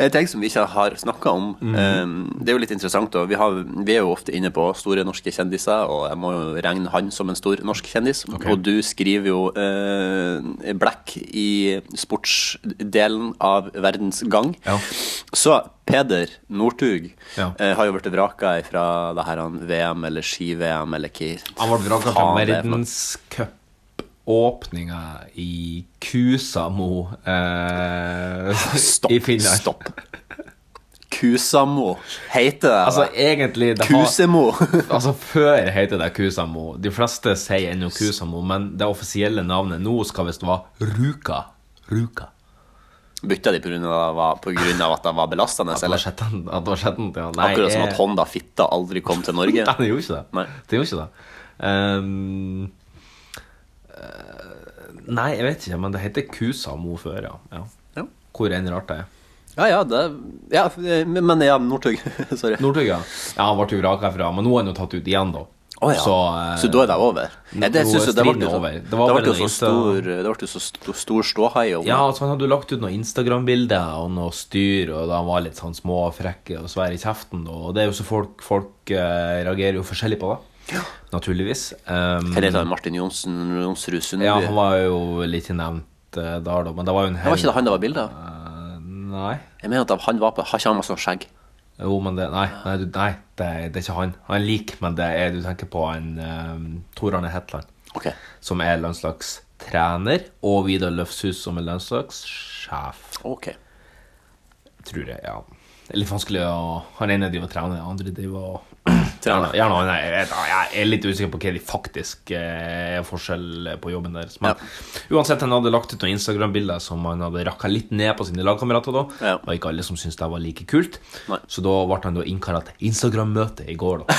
Speaker 3: en ting som vi ikke har snakka om,
Speaker 2: Mm.
Speaker 3: ehm, det er jo litt interessant. Og vi, har, vi er jo ofte inne på store norske kjendiser, og jeg må jo regne han som en stor norsk kjendis. Og du skriver jo uh, Black i sportsdelen av Verdens Gang.
Speaker 2: Ja.
Speaker 3: Så Peder Northug
Speaker 2: Ja.
Speaker 3: eh, har jo blitt vraka fra det her han VM eller ski-VM eller hva
Speaker 2: Han ble vraka fra
Speaker 3: faen det er for noe.
Speaker 2: verdenscupåpninga i Kusamo eh,
Speaker 3: Stopp,
Speaker 2: i Finland.
Speaker 3: stopp. Kusamo heter det.
Speaker 2: Altså,
Speaker 3: eller?
Speaker 2: egentlig det har-
Speaker 3: Kusemo.
Speaker 2: Altså, før heter det Kusamo. De fleste sier ennå Kusamo, men det offisielle navnet nå skal visst være Ruka. Ruka.
Speaker 3: Bytta de pga. at de var belastende?
Speaker 2: At det var
Speaker 3: Eller?
Speaker 2: sjetten- at det var sjetten til han. Nei,
Speaker 3: Akkurat som
Speaker 2: jeg-
Speaker 3: at Honda Fitta aldri kom til Norge?
Speaker 2: Nei, det gjorde ikke det.
Speaker 3: Nei.
Speaker 2: Det gjorde ikke det. Ehm, eh, nei, jeg vet ikke, men det heter Kusamo før, ja. ja.
Speaker 3: Ja.
Speaker 2: Hvor enn rart det er.
Speaker 3: Ja, ja, det Ja, men ja, Northug. Sorry.
Speaker 2: Northug, ja. Ja, han ble jo vraka herfra, men nå er han jo tatt ut igjen, da.
Speaker 3: Å ja. så,
Speaker 2: eh,
Speaker 3: da er det over? Ja, det,
Speaker 2: nå
Speaker 3: synes
Speaker 2: er
Speaker 3: jeg, det ble
Speaker 2: striden
Speaker 3: jo så-
Speaker 2: over.
Speaker 3: det
Speaker 2: Det var
Speaker 3: ble
Speaker 2: vel
Speaker 3: jo
Speaker 2: den
Speaker 3: så
Speaker 2: eneste-
Speaker 3: stor Det ble jo så sto- stor ståhei om
Speaker 2: Ja, altså Han hadde jo lagt ut noen Instagram-bilder og noe styr, og da han var litt sånn småfrekke og svær i kjeften. da. Og det er jo så folk, folk eh, reagerer jo forskjellig på det. Naturligvis. Um,
Speaker 3: Hva heter han, Martin Johnsen Jonsrud Sundby?
Speaker 2: ja, han var jo litt nevnt eh, der, da, men det var jo en
Speaker 3: det var ikke det han det var bilde av?
Speaker 2: Eh, Nei.
Speaker 3: Jeg mener at han var på Har ikke han masse sånn skjegg?
Speaker 2: Jo, men det Nei, nei, du, nei det, er- det er ikke han. Han er lik, men det er du tenker på han eh, Tor Arne Hetland.
Speaker 3: Ok.
Speaker 2: som er landslagstrener, og Vidar Løfshus, som er landslagssjef,
Speaker 3: ok
Speaker 2: tror jeg. ja. Det er litt vanskelig å Han ene driver og trener, den andre driver og
Speaker 3: Trener.
Speaker 2: Gjerne- Gjerne han er- jeg, vet- jeg er litt usikker på hva de faktisk eh, er forskjell på jobben deres. Men uansett, han hadde lagt ut noen Instagram-bilder som han hadde rakka litt ned på sine lagkamerater da.
Speaker 3: Ja.
Speaker 2: Det var ikke alle som syntes det var like kult.
Speaker 3: Nei.
Speaker 2: Så da ble han da innkalla til Instagram-møte i går, da.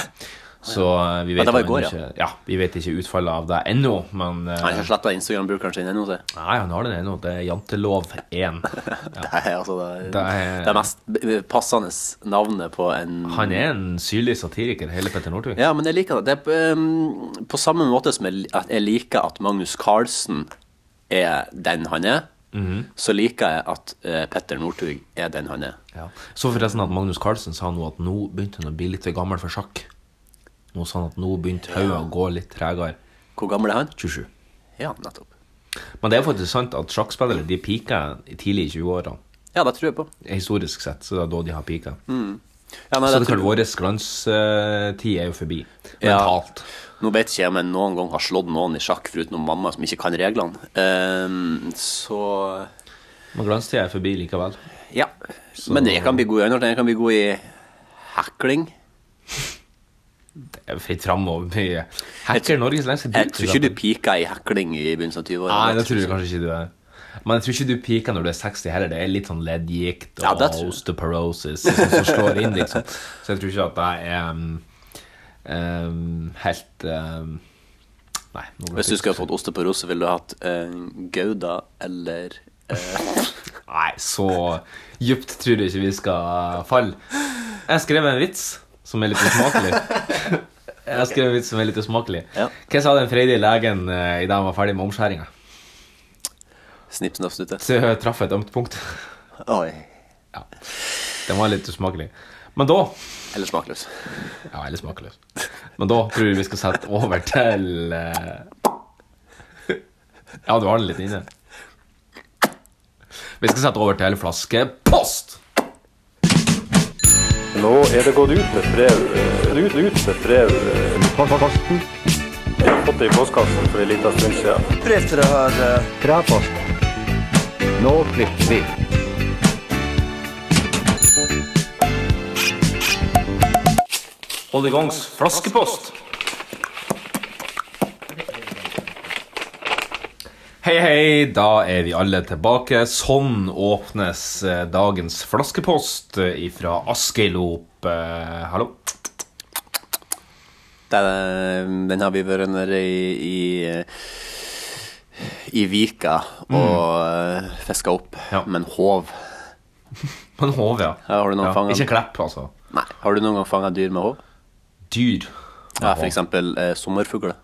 Speaker 2: Så eh, vi vet,
Speaker 3: det var i
Speaker 2: ennå
Speaker 3: går, ja.
Speaker 2: ikke, ja, vi vet ikke utfallet av det ennå, men eh,
Speaker 3: Han har sletta Instagram-brukeren sin ennå, sier
Speaker 2: Nei, han har den ennå. Det er jantelov 1.
Speaker 3: Det er altså det,
Speaker 2: Det er-
Speaker 3: det mest b- passende navnet på en
Speaker 2: Han er en syrlig satiriker, hele Petter Northug.
Speaker 3: Ja, men jeg liker det. det er, um, på samme måte som jeg, at jeg liker at Magnus Carlsen er den han er,
Speaker 2: Mhm.
Speaker 3: så liker jeg at eh, Petter Northug er den han er.
Speaker 2: Ja. Så forresten at Magnus Carlsen sa nå at nå begynte han å bli litt for gammel for sjakk. Nå sa han at nå begynte hodet å gå litt tregere.
Speaker 3: Hvor gammel er han?
Speaker 2: 27.
Speaker 3: Ja, nettopp.
Speaker 2: Men det er faktisk sant at sjakkspillere de peaker i tidlig i 20-åra.
Speaker 3: Ja, det tror jeg på.
Speaker 2: Historisk sett så er det da de har peaka.
Speaker 3: Ja, nei,
Speaker 2: Så
Speaker 3: det
Speaker 2: det er klart
Speaker 3: tror...
Speaker 2: vår glanstid er jo forbi.
Speaker 3: Ja.
Speaker 2: Mentalt.
Speaker 3: Nå vet ikke jeg om jeg noen gang har slått noen i sjakk foruten om mamma som ikke kan reglene. Um, så
Speaker 2: Men glanstida er forbi likevel.
Speaker 3: ja. Men jeg kan bli god i andre ting. Jeg kan bli god i hekling.
Speaker 2: Det er Fritt framover. Hacker Norges lengste
Speaker 3: Jeg tror ikke
Speaker 2: bit,
Speaker 3: du pika i hekling i begynnelsen av 20-åra.
Speaker 2: Nei, det tror jeg kanskje ikke du er. Men jeg tror ikke du peaker når du er 60 heller. Det er litt sånn leddgikt
Speaker 3: Ja,
Speaker 2: og
Speaker 3: det tror jeg.
Speaker 2: osteoporosis liksom, som slår inn, liksom. Så jeg tror ikke at det er um, um, helt um, Nei. nå ble
Speaker 3: Hvis du
Speaker 2: jeg-
Speaker 3: skulle ha fått oste på rose, ville du hatt eh, Gouda eller eh,
Speaker 2: Nei, så djupt tror jeg ikke vi skal falle. Jeg skrev en vits som er litt usmakelig. Jeg skrev en vits som er litt usmakelig.
Speaker 3: Ja.
Speaker 2: Hva sa den freidige legen eh, idet han var ferdig med omskjæringa?
Speaker 3: Snipp, snapp, snute.
Speaker 2: Traff et ømt punkt.
Speaker 3: Oi.
Speaker 2: Ja. Den var litt usmakelig. Men da
Speaker 3: Eller smakløs.
Speaker 2: Ja, eller smakløs. Men da tror jeg vi skal sette over til eh, Ja, du har den litt inne. Vi skal sette over til flaskepost.
Speaker 6: Nå er det gått ut med brev. eh, Ut, ut med brev. eh,
Speaker 1: Posten.
Speaker 6: Jeg har fått det i postkassen for en liten stund siden.
Speaker 1: Kraposten. Nå klipper vi.
Speaker 2: Hold i gangs flaskepost. Hei, hei, da er vi alle tilbake. Sånn åpnes eh, dagens flaskepost fra Askeilop. Eh, Hallo.
Speaker 3: eh, Den, den har vi vært nede i, i i Vika og mm. fiska opp,
Speaker 2: Ja.
Speaker 3: men håv.
Speaker 2: Men hov, ja.
Speaker 3: Ja, har du noen fanget?
Speaker 2: Ikke klepp, altså.
Speaker 3: Nei. Har du noen gang fanga dyr med håv?
Speaker 2: Dyr.
Speaker 3: Ja, for eksempel eh, sommerfugler.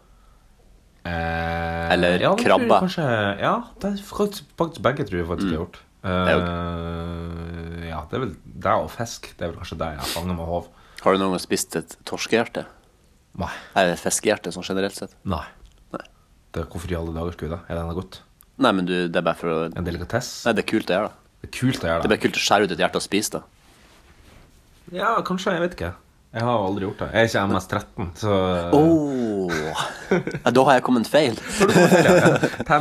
Speaker 2: Eh,
Speaker 3: Eller
Speaker 2: ja, det tror jeg
Speaker 3: krabber.
Speaker 2: Kanskje, ja, det er faktisk, faktisk begge tror jeg faktisk jeg har gjort.
Speaker 3: Mm. er jo
Speaker 2: Eh, ja, det er vel det og fisk. Det er vel kanskje det jeg fanger med hov.
Speaker 3: Har du noen gang spist et torskehjerte?
Speaker 2: Nei.
Speaker 3: Eller et fiskehjerte, sånn generelt sett?
Speaker 2: Nei.
Speaker 3: Nei.
Speaker 2: Det er hvorfor i alle dager skulle jeg det? Er det enda godt?
Speaker 3: Nei, men du, det er bare for å
Speaker 2: En
Speaker 3: Nei,
Speaker 2: delikatesse?
Speaker 3: det er kult å gjøre, da.
Speaker 2: Det er kult å
Speaker 3: Det
Speaker 2: gjøre
Speaker 3: er
Speaker 2: det.
Speaker 3: bare kult å skjære ut et hjerte og spise det.
Speaker 2: Ja, kanskje. Jeg vet ikke. Jeg har aldri gjort det. Jeg er ikke MS-13, så
Speaker 3: Oh. Ja, da har jeg kommet feil.
Speaker 2: Dette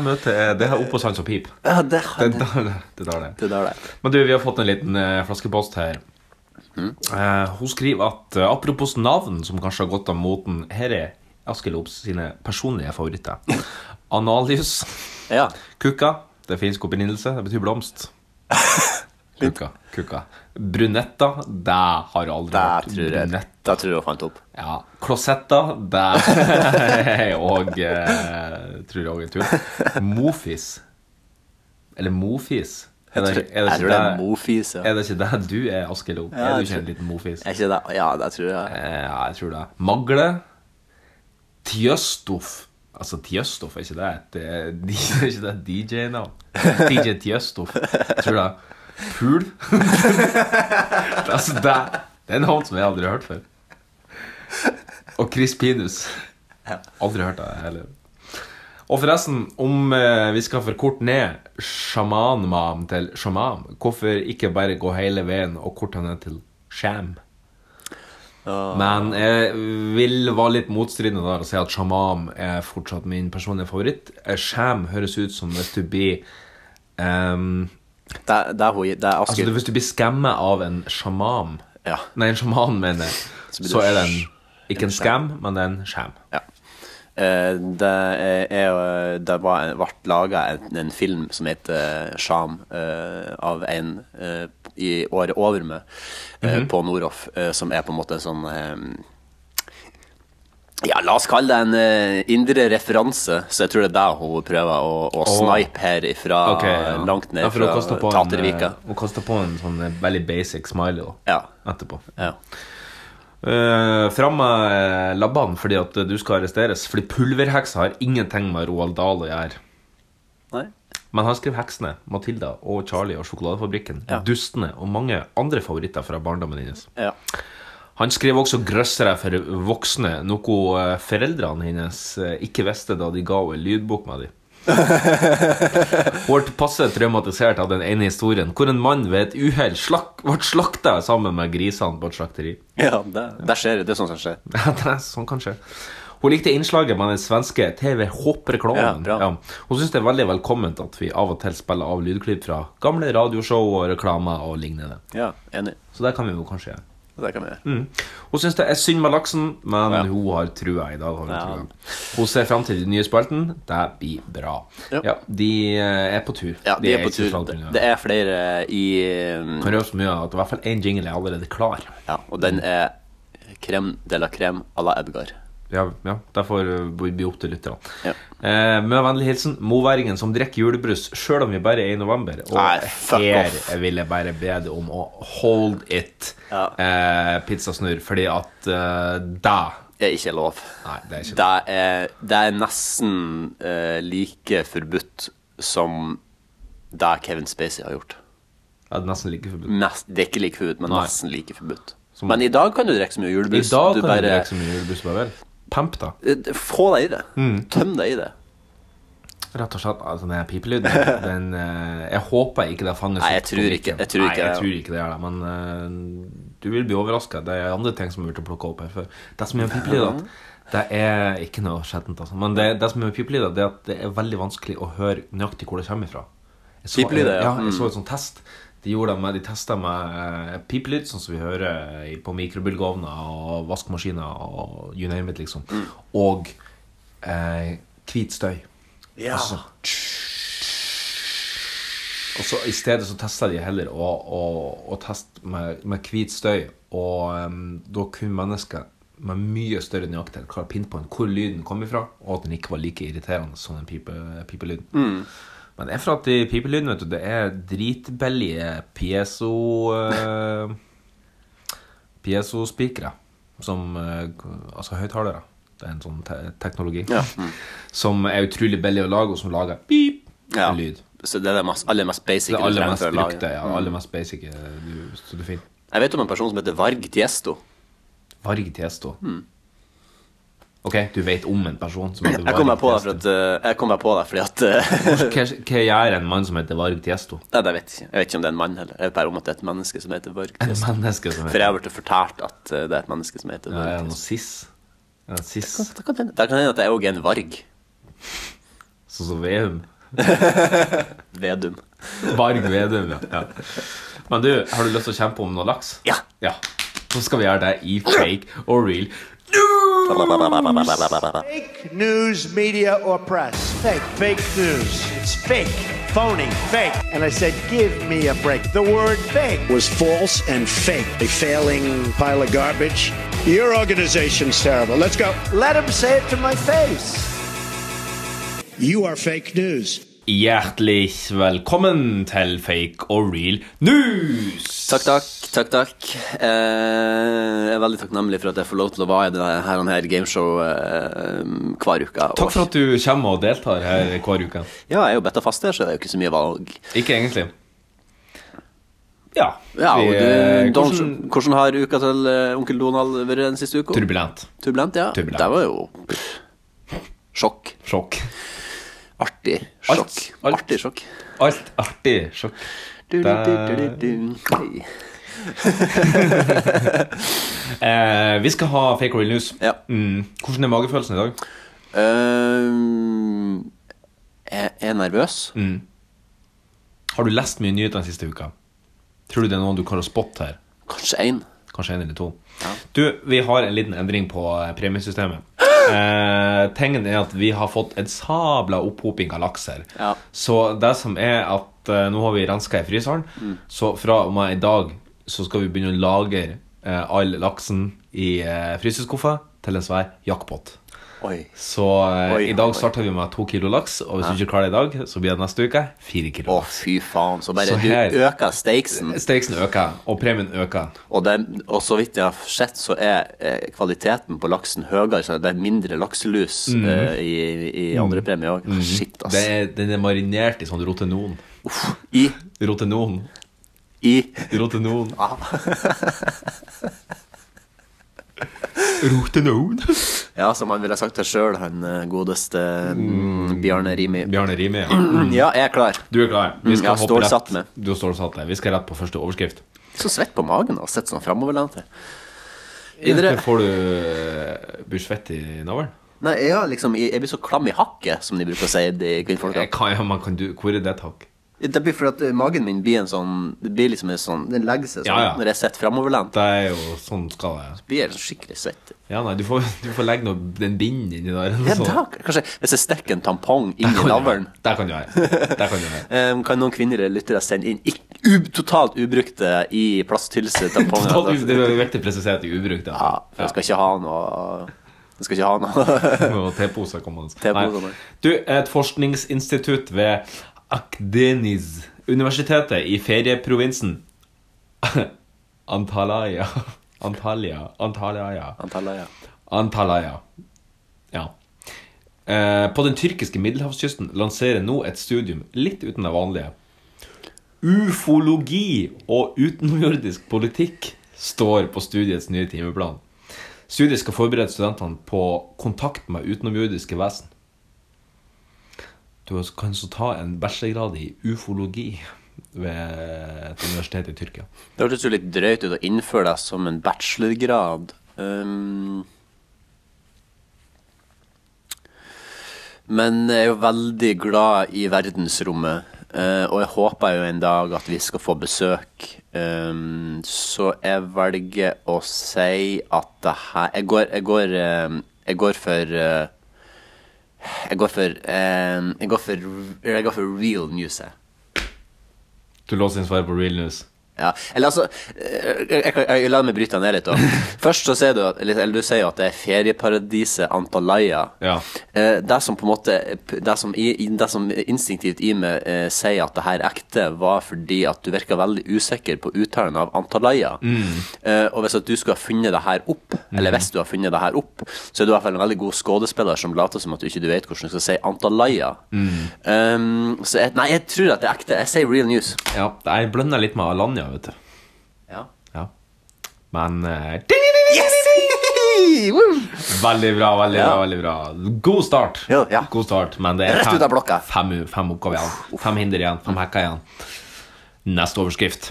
Speaker 2: møtet er det her opp på sans og pip.
Speaker 3: Ja, det,
Speaker 2: Det
Speaker 3: har-
Speaker 2: er der det, det, er der det.
Speaker 3: det der, det.
Speaker 2: Men du, vi har fått en liten eh, flaskepost her.
Speaker 3: Mm.
Speaker 2: Eh, hun skriver at eh, apropos navn, som kanskje har gått av moten, her er Askelops sine personlige favoritter. Analius,
Speaker 3: Ja.
Speaker 2: kukka, det er finsk opprinnelse, det betyr blomst. Kukka, kukka. Brunetta, det har jeg aldri
Speaker 3: Der
Speaker 2: hørt.
Speaker 3: tror jeg
Speaker 2: Brunett-
Speaker 3: Der tror jeg hun fant opp.
Speaker 2: Ja. Klosetta, det og eh, tror jeg også er tull. Mofis. Eller mofis. Er det, ikke- er det
Speaker 3: tror- jeg
Speaker 2: ikke
Speaker 3: tror det er
Speaker 2: deg-
Speaker 3: mofis, ja.
Speaker 2: Er det ikke deg du er, Askelo?
Speaker 3: Ja,
Speaker 2: er du
Speaker 3: jeg
Speaker 2: ikke en
Speaker 3: tror-
Speaker 2: liten mofis?
Speaker 3: Er ikke det? Ja, det tror jeg.
Speaker 2: Eh, ja, jeg tror det. Magle. Tjøstoff. Altså, Tjøstoff, er ikke det et eh, Er ikke det et DJ-navn? DJ Tjøstoff. Jeg tror det. Pool. altså, det, det er en navn som jeg aldri har hørt før. Og Chris Pinus. Aldri hørt det heller. Og forresten, om eh, vi skal forkorte ned sjamanmam til sjaman, hvorfor ikke bare gå hele veien og korte han ned til sham? Men jeg vil være litt motstridende der og si at sjaman er fortsatt min personlige favoritt. Eh, Sham høres ut som hvis du blir ehm,
Speaker 3: Det, er- det er hun i- Det er
Speaker 2: Altså
Speaker 3: Askild.
Speaker 2: hvis du blir skammet av en sjaman
Speaker 3: Ja.
Speaker 2: Nei, en sjaman, mener jeg.
Speaker 3: Så blir
Speaker 2: Så
Speaker 3: det
Speaker 2: er det en,
Speaker 3: sj-
Speaker 2: ikke en skam, men det er en sham.
Speaker 3: Ja. Eh, Det, er, er- det var, ble laga en, en film som heter Sham, eh, av en eh, i året over med, eh,
Speaker 2: Mhm.
Speaker 3: på Noroff, eh, som er på en måte en sånn eh, Ja, la oss kalle det en eh, indre referanse, så jeg tror det er der hun prøver å, å snipe her ifra
Speaker 2: Ok, ja.
Speaker 3: langt ned
Speaker 2: Ah, Ja, for å
Speaker 3: fra
Speaker 2: kaste på en,
Speaker 3: Tatervika.
Speaker 2: eh, Å kaste på en sånn eh, veldig basic smiley da,
Speaker 3: Ja.
Speaker 2: etterpå.
Speaker 3: Ja.
Speaker 2: Uh, Fram med eh, labbene fordi at du skal arresteres. Fordi pulverheksa har ingenting med Roald Dahl å gjøre.
Speaker 3: Nei.
Speaker 2: Men han skriver 'Heksene', 'Matilda' og 'Charlie' og 'Sjokoladefabrikken',
Speaker 3: Ja.
Speaker 2: 'Dustene' og mange andre favoritter fra barndommen hennes.
Speaker 3: Ja.
Speaker 2: Han skriver også 'Grøssere for voksne', noe eh, foreldrene hennes eh, ikke visste da de ga henne en lydbok med dem. Hun ble passe traumatisert av den ene historien, hvor en mann ved et uhell slak ble slakta sammen med grisene på et slakteri.
Speaker 3: ja det, det skjer. Det er sånt som skjer.
Speaker 2: Ja, det er sånn kanskje Hun likte innslaget med den svenske TV Hopp-reklamen
Speaker 3: Ja, bra.
Speaker 2: Hun synes det er veldig velkomment at vi av og til spiller av lydklipp fra gamle radioshow og reklamer og lignende
Speaker 3: Ja, enig.
Speaker 2: Så det kan vi jo kanskje gjøre
Speaker 3: Det kan vi gjøre.
Speaker 2: Mm. Hun synes det er synd med laksen, men
Speaker 3: Ja.
Speaker 2: hun har trua i dag. Har hun,
Speaker 3: Ja.
Speaker 2: trua. hun ser frem til de nye spalten. Det blir bra.
Speaker 3: Ja.
Speaker 2: Ja, de eh, er på tur.
Speaker 3: Ja, de er på
Speaker 2: ikke så
Speaker 3: tur.
Speaker 2: langt
Speaker 3: Det,
Speaker 2: unna.
Speaker 3: det er flere i
Speaker 2: Kan røpe så mye at i hvert fall én jingle er allerede klar.
Speaker 3: Ja, og den er krem de la crème à la Edgar.
Speaker 2: Ja, ja det får eh, bli bli opp til lytterne.
Speaker 3: Ja.
Speaker 2: Eh, med vennlig hilsen moværingen som drikker julebrus sjøl om vi bare er i november. Og
Speaker 3: Nei, fuck
Speaker 2: her
Speaker 3: off.
Speaker 2: vil jeg bare be deg om å hold it,
Speaker 3: Ja.
Speaker 2: eh, pizzasnurr, fordi at eh, da
Speaker 3: Det er ikke lov.
Speaker 2: Nei, det er ikke
Speaker 3: Det er, det er nesten eh, like forbudt som det Kevin Spacey har gjort.
Speaker 2: er det nesten like forbudt.
Speaker 3: Nest, det er ikke like forbudt, men
Speaker 2: Nei.
Speaker 3: nesten like forbudt.
Speaker 2: Som-
Speaker 3: Men i dag kan du drikke så mye
Speaker 2: I
Speaker 3: julebrus.
Speaker 2: dag
Speaker 3: du
Speaker 2: kan du
Speaker 3: bare
Speaker 2: drikke så mye julebrus bare vel. Pamp, da.
Speaker 3: Eh, Få deg i det.
Speaker 2: Mm.
Speaker 3: Tøm deg i det.
Speaker 2: Rett og slett. Altså, den her pipelyden den, eh, Jeg håper ikke det fanges
Speaker 3: Nei, jeg
Speaker 2: opp på
Speaker 3: tror ikke-
Speaker 2: mikken.
Speaker 3: jeg tror ikke
Speaker 2: Nei, jeg
Speaker 3: det.
Speaker 2: tror ikke det gjør det. Men eh, du vil bli overraska. Det er andre ting som er lurt å plukke opp her før. Det som er med pipelyd, at det er ikke noe skjettent, altså. Men det, det som er med pipelyd, det er at det er veldig vanskelig å høre nøyaktig hvor det kommer ifra. Jeg så, ja.
Speaker 3: Pipelyder, ja.
Speaker 2: Jeg så et sånt test. De gjorde det med, de testa med eh, pipelyd, sånn som vi hører i- på mikrobølgeovner og vaskemaskiner og you name it, liksom. Og eh, hvit støy.
Speaker 3: Ja.
Speaker 2: Altså, og så I stedet så testa de heller å, å, å teste med, med hvit støy. Og em, da kunne mennesker med mye større nøyaktighet klare å pinpointe hvor lyden kom ifra, og at den ikke var like irriterende som den pipe, pipelyden. Men det er for at de pipelydene vet du, det er dritbillige piezo... eh, piezospikere. Som eh, Altså høyttalere. Det er en sånn te teknologi. Som er utrolig billig å lage, og som lager pip
Speaker 3: Ja.
Speaker 2: lyd.
Speaker 3: Så det er det mest, aller mest Mm. basic.
Speaker 2: Det er
Speaker 3: du
Speaker 2: aller
Speaker 3: trenger
Speaker 2: mest
Speaker 3: for å lage.
Speaker 2: brukte, ja, aller mest basic eh, du, så du finner.
Speaker 3: Jeg vet om en person som heter Varg Tiesto.
Speaker 2: Varg Tiesto.
Speaker 3: Mm.
Speaker 2: Ok, du vet om en person som heter
Speaker 3: Jeg kom meg
Speaker 2: Varg
Speaker 3: på det
Speaker 2: Tiesto.
Speaker 3: for at, eh, jeg kom meg på det fordi at eh,
Speaker 2: Hva hva gjør en mann som heter Varg Tiesto?
Speaker 3: Nei, det vet jeg ikke. Jeg vet ikke om det er en mann heller. Jeg vet bare om at det er et menneske som heter Varg.
Speaker 2: Et menneske som
Speaker 3: For
Speaker 2: heter
Speaker 3: jeg har blitt fortalt at eh, det er et menneske som
Speaker 2: Ja,
Speaker 3: heter
Speaker 2: Er det
Speaker 3: Varg.
Speaker 2: noe siss? Er det en siss?
Speaker 3: Det kan hende det kan hende at jeg òg er en Varg.
Speaker 2: Sånn som Veum?
Speaker 3: Vedum.
Speaker 2: Varg Vedum, ja. ja. Men du, har du lyst til å kjempe om noe laks?
Speaker 3: Ja.
Speaker 2: ja. Så skal vi gjøre det i fake og real.
Speaker 7: Fake news, media, or press. Fake. Fake news. It's fake. Phony. Fake. And I said, give me a break. The word fake was false and fake. A failing pile of garbage. Your organization's terrible. Let's go. Let him say it to my face. You are fake news.
Speaker 2: Hjertelig velkommen til Fake og real news!
Speaker 3: Takk, takk. takk, takk eh, Jeg er veldig takknemlig for at jeg får lov til å være i denne her, denne her gameshow eh, hver uke.
Speaker 2: Takk for at du kommer og deltar her hver uke.
Speaker 3: Ja, jeg er jo bedt av faste, så det er jo ikke så mye valg.
Speaker 2: Ikke egentlig. Ja.
Speaker 3: Ja,
Speaker 2: vi,
Speaker 3: og du,
Speaker 2: eh,
Speaker 3: Don,
Speaker 2: hvordan,
Speaker 3: hvordan har uka til eh, onkel Donald vært den siste uka?
Speaker 2: Turbulent.
Speaker 3: Turbulent, ja.
Speaker 2: Turbulent.
Speaker 3: Det var jo pff, sjokk.
Speaker 2: Sjokk.
Speaker 3: Artig
Speaker 2: Alt-
Speaker 3: sjokk.
Speaker 2: alt-
Speaker 3: Artig sjokk.
Speaker 2: Alt artig sjokk.
Speaker 3: Du, du, du, du,
Speaker 2: Det-
Speaker 3: du, du. Hei.
Speaker 2: Eh, vi skal ha fake or real news.
Speaker 3: Ja.
Speaker 2: Mm. Hvordan er magefølelsen i dag?
Speaker 3: Ehm, jeg er nervøs.
Speaker 2: Mm. Har du lest mye nyheter den siste uka? Tror du det er noen du kan spotte her?
Speaker 3: Kanskje én.
Speaker 2: Kanskje en eller to. Du, vi har en liten endring på eh, premiesystemet. Eh, tingen er at vi har fått en sabla opphoping av laks her.
Speaker 3: Ja.
Speaker 2: Så det som er at eh, nå har vi renska i fryseren,
Speaker 3: Mm.
Speaker 2: så fra og med i dag så skal vi begynne å lagre eh, all laksen i eh, fryseskuffa til en svær jackpot.
Speaker 3: Oi.
Speaker 2: Så eh,
Speaker 3: Oi,
Speaker 2: i dag
Speaker 3: oi.
Speaker 2: starter vi med to kilo laks, og hvis du ikke klarer det i dag, så blir det neste uke fire
Speaker 3: Å,
Speaker 2: kilo.
Speaker 3: fy faen. Så bare
Speaker 2: Så
Speaker 3: du
Speaker 2: her-
Speaker 3: øker stakesen.
Speaker 2: Stakesen øker, og premien øker.
Speaker 3: Og, det, og så vidt jeg har sett, så er eh, kvaliteten på laksen høyere. Så det er mindre lakselus eh, i, i andre premie òg. Shit, ass.
Speaker 2: Mm. Det er, den er marinert i sånn rotenon.
Speaker 3: I,
Speaker 2: Rotenon.
Speaker 3: i
Speaker 2: Rotenon. Rotenon.
Speaker 3: Ja, som han ville sagt det sjøl, han eh, godeste mm, Bjarne Rimi. Mm,
Speaker 2: Bjarne Rimi, ja.
Speaker 3: Ja, jeg er klar.
Speaker 2: Du er klar. Vi
Speaker 3: Mm, jeg
Speaker 2: hoppe
Speaker 3: står
Speaker 2: rett-
Speaker 3: satt med.
Speaker 2: Du står satt med. Vi skal rett på første overskrift.
Speaker 3: Så svett på magen og sitter sånn framoverlent her. Videre.
Speaker 2: Egentlig får du blir svett i navlen.
Speaker 3: Nei, ja, liksom, jeg, jeg blir så klam i hakket, som de bruker å si, de kvinnfolka.
Speaker 2: Jeg kan- Eh, ja, man kan du- Hvor er det tak?
Speaker 3: Det blir fordi at eh, magen min blir en sånn Det blir liksom en sånn Den legger seg sånn
Speaker 2: Ja, ja.
Speaker 3: når jeg sitter framoverlent.
Speaker 2: Det er jo sånn skal det
Speaker 3: Blir jeg skikkelig svett.
Speaker 2: Ja, nei, du får, du får legge noe, en bind inni der. eller noe
Speaker 3: Ja,
Speaker 2: sånt.
Speaker 3: da, kanskje Hvis jeg stikker en tampong
Speaker 2: Det
Speaker 3: inn i
Speaker 2: kan du
Speaker 3: navlen
Speaker 2: gjøre. Det kan du gjøre. Det kan du gjøre.
Speaker 3: eh, Kan noen kvinnelige lyttere sende inn ikk- u totalt ubrukte i plasthylse tamponger? altså?
Speaker 2: Da- Det er viktig å presisere at det er ubrukt.
Speaker 3: Ja,
Speaker 2: altså.
Speaker 3: for jeg skal ikke ha noe Jeg skal ikke ha noe
Speaker 2: Og teposer kommer hans.
Speaker 3: Teposer,
Speaker 2: altså. Nei.
Speaker 3: nei.
Speaker 2: Du, et forskningsinstitutt ved Akdeniz, universitetet i ferieprovinsen Antalya Antalya Antalya
Speaker 3: Antallet, ja.
Speaker 2: Antalya. Ja. Eh, på den tyrkiske middelhavskysten lanserer nå et studium litt uten det vanlige. Ufologi og utenjordisk politikk står på studiets nye timeplan. Studiet skal forberede studentene på kontakt med utenomjordiske vesen. Du kan så ta en bachelorgrad i ufologi ved et universitet i Tyrkia.
Speaker 3: Det hørtes jo litt drøyt ut å innføre deg som en bachelorgrad. Um, men jeg er jo veldig glad i verdensrommet, eh, og jeg håper jo en dag at vi skal få besøk. Um, så jeg velger å si at det her Jeg går, jeg går, eh, jeg går for eh, jeg går for, eh, jeg, går for, jeg går for real news, jeg.
Speaker 2: Du låser inn svaret på real news.
Speaker 3: Ja, eller altså eh, jeg, jeg, jeg, La meg bryte ned litt. da. Først så sier du at, eller, eller du sier jo at det er ferieparadiset Antalya.
Speaker 2: Ja.
Speaker 3: Eh, Det som på en måte Det som, i, i- det som instinktivt i meg eh, sier at det her er ekte, var fordi at du virka veldig usikker på uttalen av Antalya. Eh, og hvis at du skulle ha funnet det her opp, eller hvis du har funnet det her opp, så er du i hvert fall en veldig god skådespiller som later som at du ikke du vet hvordan du skal si Antalya. Um, så jeg, nei, jeg tror at det er ekte. Jeg sier real news.
Speaker 2: ja. Jeg blønner litt med Alanya, vet du.
Speaker 3: Ja
Speaker 2: Ja. Men eh, Veldig bra, veldig bra.
Speaker 3: Ja.
Speaker 2: veldig bra God start.
Speaker 3: Ja, ja.
Speaker 2: God start Men det er
Speaker 3: Rett ut av blokka.
Speaker 2: fem, fem oppgaver igjen. Fem hinder igjen. Fem hekker igjen. Neste overskrift.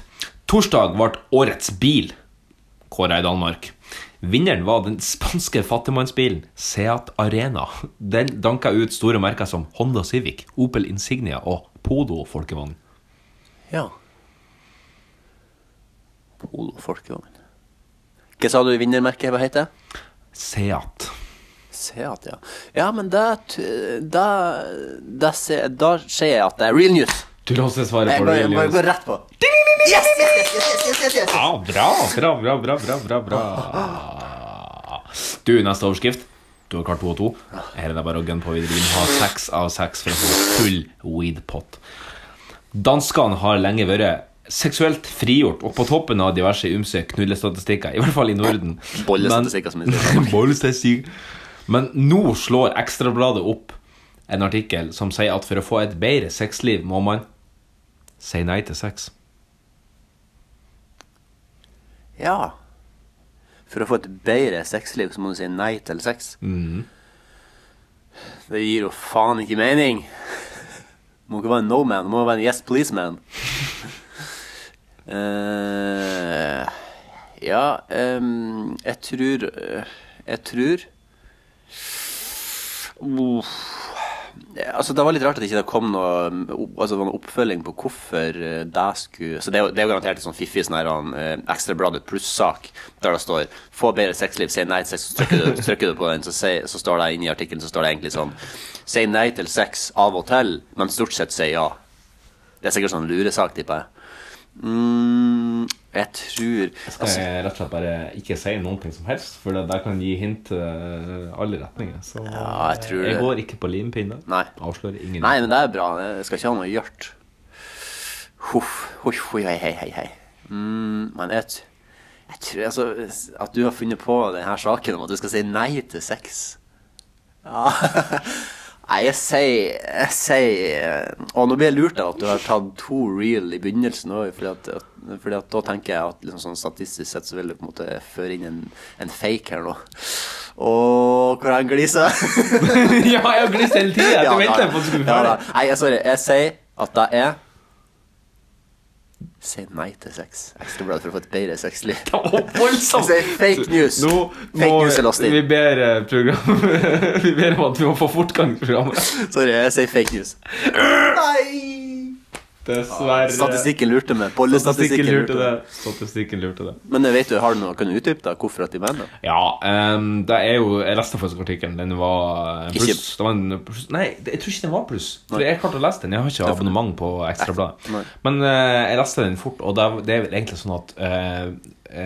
Speaker 2: Torsdag ble årets bil kåra i Danmark. Vinneren var den spanske fattigmannsbilen Seat Arena. Den danka ut store merker som Honda Civic, Opel Insignia og Podo folkevogn.
Speaker 3: Ja. Polo folkevogn. Hva sa du vinnermerket hva heter?
Speaker 2: Seat.
Speaker 3: Seat, ja. Ja, men da t- Da, da, ser- da ser jeg at det er real news.
Speaker 2: Du låste svaret
Speaker 3: Jeg
Speaker 2: på
Speaker 3: bare, jeg bare
Speaker 2: Relius.
Speaker 3: går rett på. Yes, yes, yes, yes, yes, yes, yes, yes.
Speaker 2: Ja, bra, bra, bra, bra, bra, bra, bra. Du, neste overskrift. du har klart to og to. Her er det bare å gunne på videre. Vi må ha seks av seks for å få full weedpot. Danskene har lenge vært seksuelt frigjort og på toppen av diverse ymse knullestatistikker, i hvert fall i Norden.
Speaker 3: Bollestatistikker, som vi
Speaker 2: Men- Bollestatistikk. Men nå slår Ekstrabladet opp en artikkel som sier at for å få et bedre sexliv må man si nei til sex.
Speaker 3: Ja. For å få et bedre sexliv, så må du si nei til sex. Det gir jo faen ikke mening. Du må ikke være en no man, du må være en yes please man. Eh, ja, em, jeg tror eh, Jeg tror Uff. Ja, Altså, det var litt rart at ikke det kom noe, opp- altså, det var noe oppfølging på hvorfor eh, det skulle Så det er jo, det er jo garantert en sånn fiffig sånn her eh, Ekstrabladet pluss-sak der det står 'Få bedre sexliv, si nei til sex', så trykker du, trykker du på den, så, se- så står det inne i artikkelen så står det egentlig sånn 'Si nei til sex av og til, men stort sett si ja'. Det er sikkert sånn luresak, tipper jeg. Mm, jeg tror
Speaker 2: Skal
Speaker 3: altså,
Speaker 2: jeg Eh, rett og slett bare ikke si noen ting som helst, for det der kan gi hint til eh, alle retninger. Så
Speaker 3: Ja, jeg tror
Speaker 2: jeg
Speaker 3: det.
Speaker 2: går ikke på limpinne.
Speaker 3: Nei.
Speaker 2: Avslører ingen.
Speaker 3: Nei, men det er bra. Jeg skal ikke ha noe gjort. Huff, huff, hui, hei, hei, hei, hei. Mm, men jeg, t- jeg tror altså at du har funnet på denne saken om at du skal si nei til sex. Ja. Nei, jeg sier Jeg sier Og nå blir jeg lurt av at du har tatt to real i begynnelsen òg, fordi, at, at, fordi at da tenker jeg at liksom sånn statistisk sett så vil du på en måte føre inn en, en fake her nå. Og hvor han gliser.
Speaker 2: ja, jeg har glist hele tida! Jeg venter på at du skulle
Speaker 3: Ja,
Speaker 2: være
Speaker 3: da. Nei, jeg- sorry. Jeg sier at det er Si nei til sex. Ekstrabladet for å få et bedre sexliv. Jeg
Speaker 2: Voldsomt!
Speaker 3: sier fake news.
Speaker 2: Nå
Speaker 3: fake
Speaker 2: må
Speaker 3: news er last
Speaker 2: vi
Speaker 3: in.
Speaker 2: ber eh, program Vi ber om at vi må få fortgang i programmet.
Speaker 3: Sorry, jeg sier fake news.
Speaker 2: Dessverre.
Speaker 3: Statistikken lurte meg.
Speaker 2: Statistikken
Speaker 3: Bollestatistikken
Speaker 2: lurte
Speaker 3: lurte
Speaker 2: det.
Speaker 3: meg.
Speaker 2: Statistikken lurte det.
Speaker 3: Men jeg vet du, har du noe kan du utdype da? hvorfor at de mener det?
Speaker 2: Ja, ehm, det er jo Jeg leste faktisk artikkelen. Den var eh,
Speaker 3: Ikke-
Speaker 2: pluss. Det var en pluss. Nei, det- jeg tror ikke den var pluss. For Jeg klarte å lese den. Jeg har ikke abonnement på
Speaker 3: Nei.
Speaker 2: Ekstrabladet. Men eh, jeg leste den fort, og det er, det er vel egentlig sånn at eh,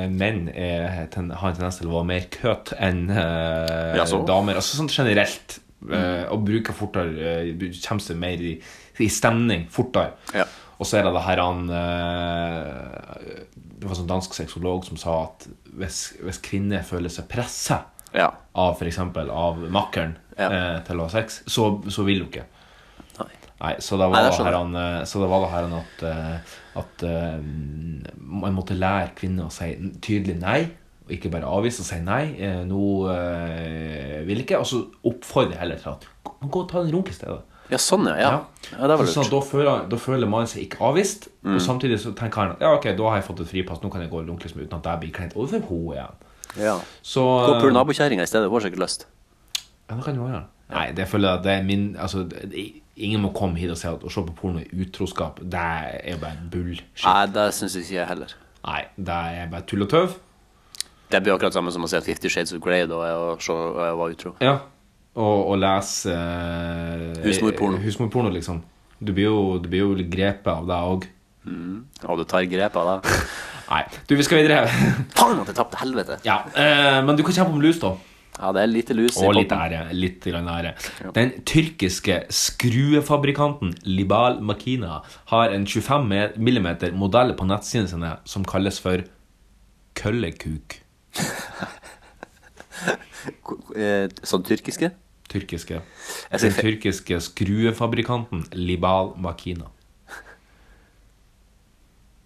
Speaker 2: eh, menn er, ten, har en tendens til å være mer køt enn eh,
Speaker 3: Ja, så?
Speaker 2: damer. Altså sånn generelt. eh, og bruker fortere eh, Kommer seg mer i, i stemning fortere.
Speaker 3: Ja.
Speaker 2: Og så er det det her han eh, Det var en sånn dansk sexolog som sa at hvis, hvis kvinner føler seg pressa
Speaker 3: Ja.
Speaker 2: av for eksempel av makkeren
Speaker 3: Ja.
Speaker 2: eh, til å ha sex, så, så vil hun ikke.
Speaker 3: Nei.
Speaker 2: Nei, så det var
Speaker 3: Nei, det
Speaker 2: det
Speaker 3: skjønner
Speaker 2: her han, eh, så det var det her han at, eh, at eh, man måtte lære kvinner å si tydelig nei, og ikke bare avvise og si nei. eh, Nå eh, vil ikke. Og så oppfordre heller til at gå gå og ta en runk i stedet.
Speaker 3: ja, sånn ja. Ja, ja det var
Speaker 2: Sånn at
Speaker 3: lurt. Mm.
Speaker 2: da føler, da føler man seg ikke avvist, og samtidig så tenker han at ja, ok, da har jeg fått et fripass, nå kan jeg gå og runke liksom, uten at jeg blir kleint overfor henne igjen.
Speaker 3: Ja.
Speaker 2: Så
Speaker 3: Gå og pule nabokjerringa i stedet. Hun har sikkert lyst.
Speaker 2: Ja, det kan jo være. Nei, det føler jeg at det er min Altså, det, ingen må komme hit og si at å se på porno er utroskap. Det er jo bare bullshit.
Speaker 3: Nei, det syns ikke jeg heller.
Speaker 2: Nei, det er bare tull og tøv.
Speaker 3: Det blir akkurat samme som å si at Fifty Shades of Grey da er å se og jeg var utro.
Speaker 2: Ja. Og, og lese eh,
Speaker 3: Husmorporno.
Speaker 2: Husmorporno, liksom. Du blir jo, du blir jo litt grepet av det òg.
Speaker 3: Og du tar grep av det.
Speaker 2: Nei. Du, vi skal videre.
Speaker 3: Faen at jeg tapte! Helvete!
Speaker 2: ja, eh, men du kan kjempe om lus, da.
Speaker 3: Ja, det er lite lus i
Speaker 2: Og litt
Speaker 3: potten.
Speaker 2: ære. Litt grann ære. Den tyrkiske skruefabrikanten Libal Makina har en 25 me- mm modell på nettsidene sine som kalles for køllekuk.
Speaker 3: Ko- eh, Sånn tyrkiske?
Speaker 2: Tyrkiske. Den
Speaker 3: Jeg sier fe-
Speaker 2: tyrkiske skruefabrikanten Libal Makina.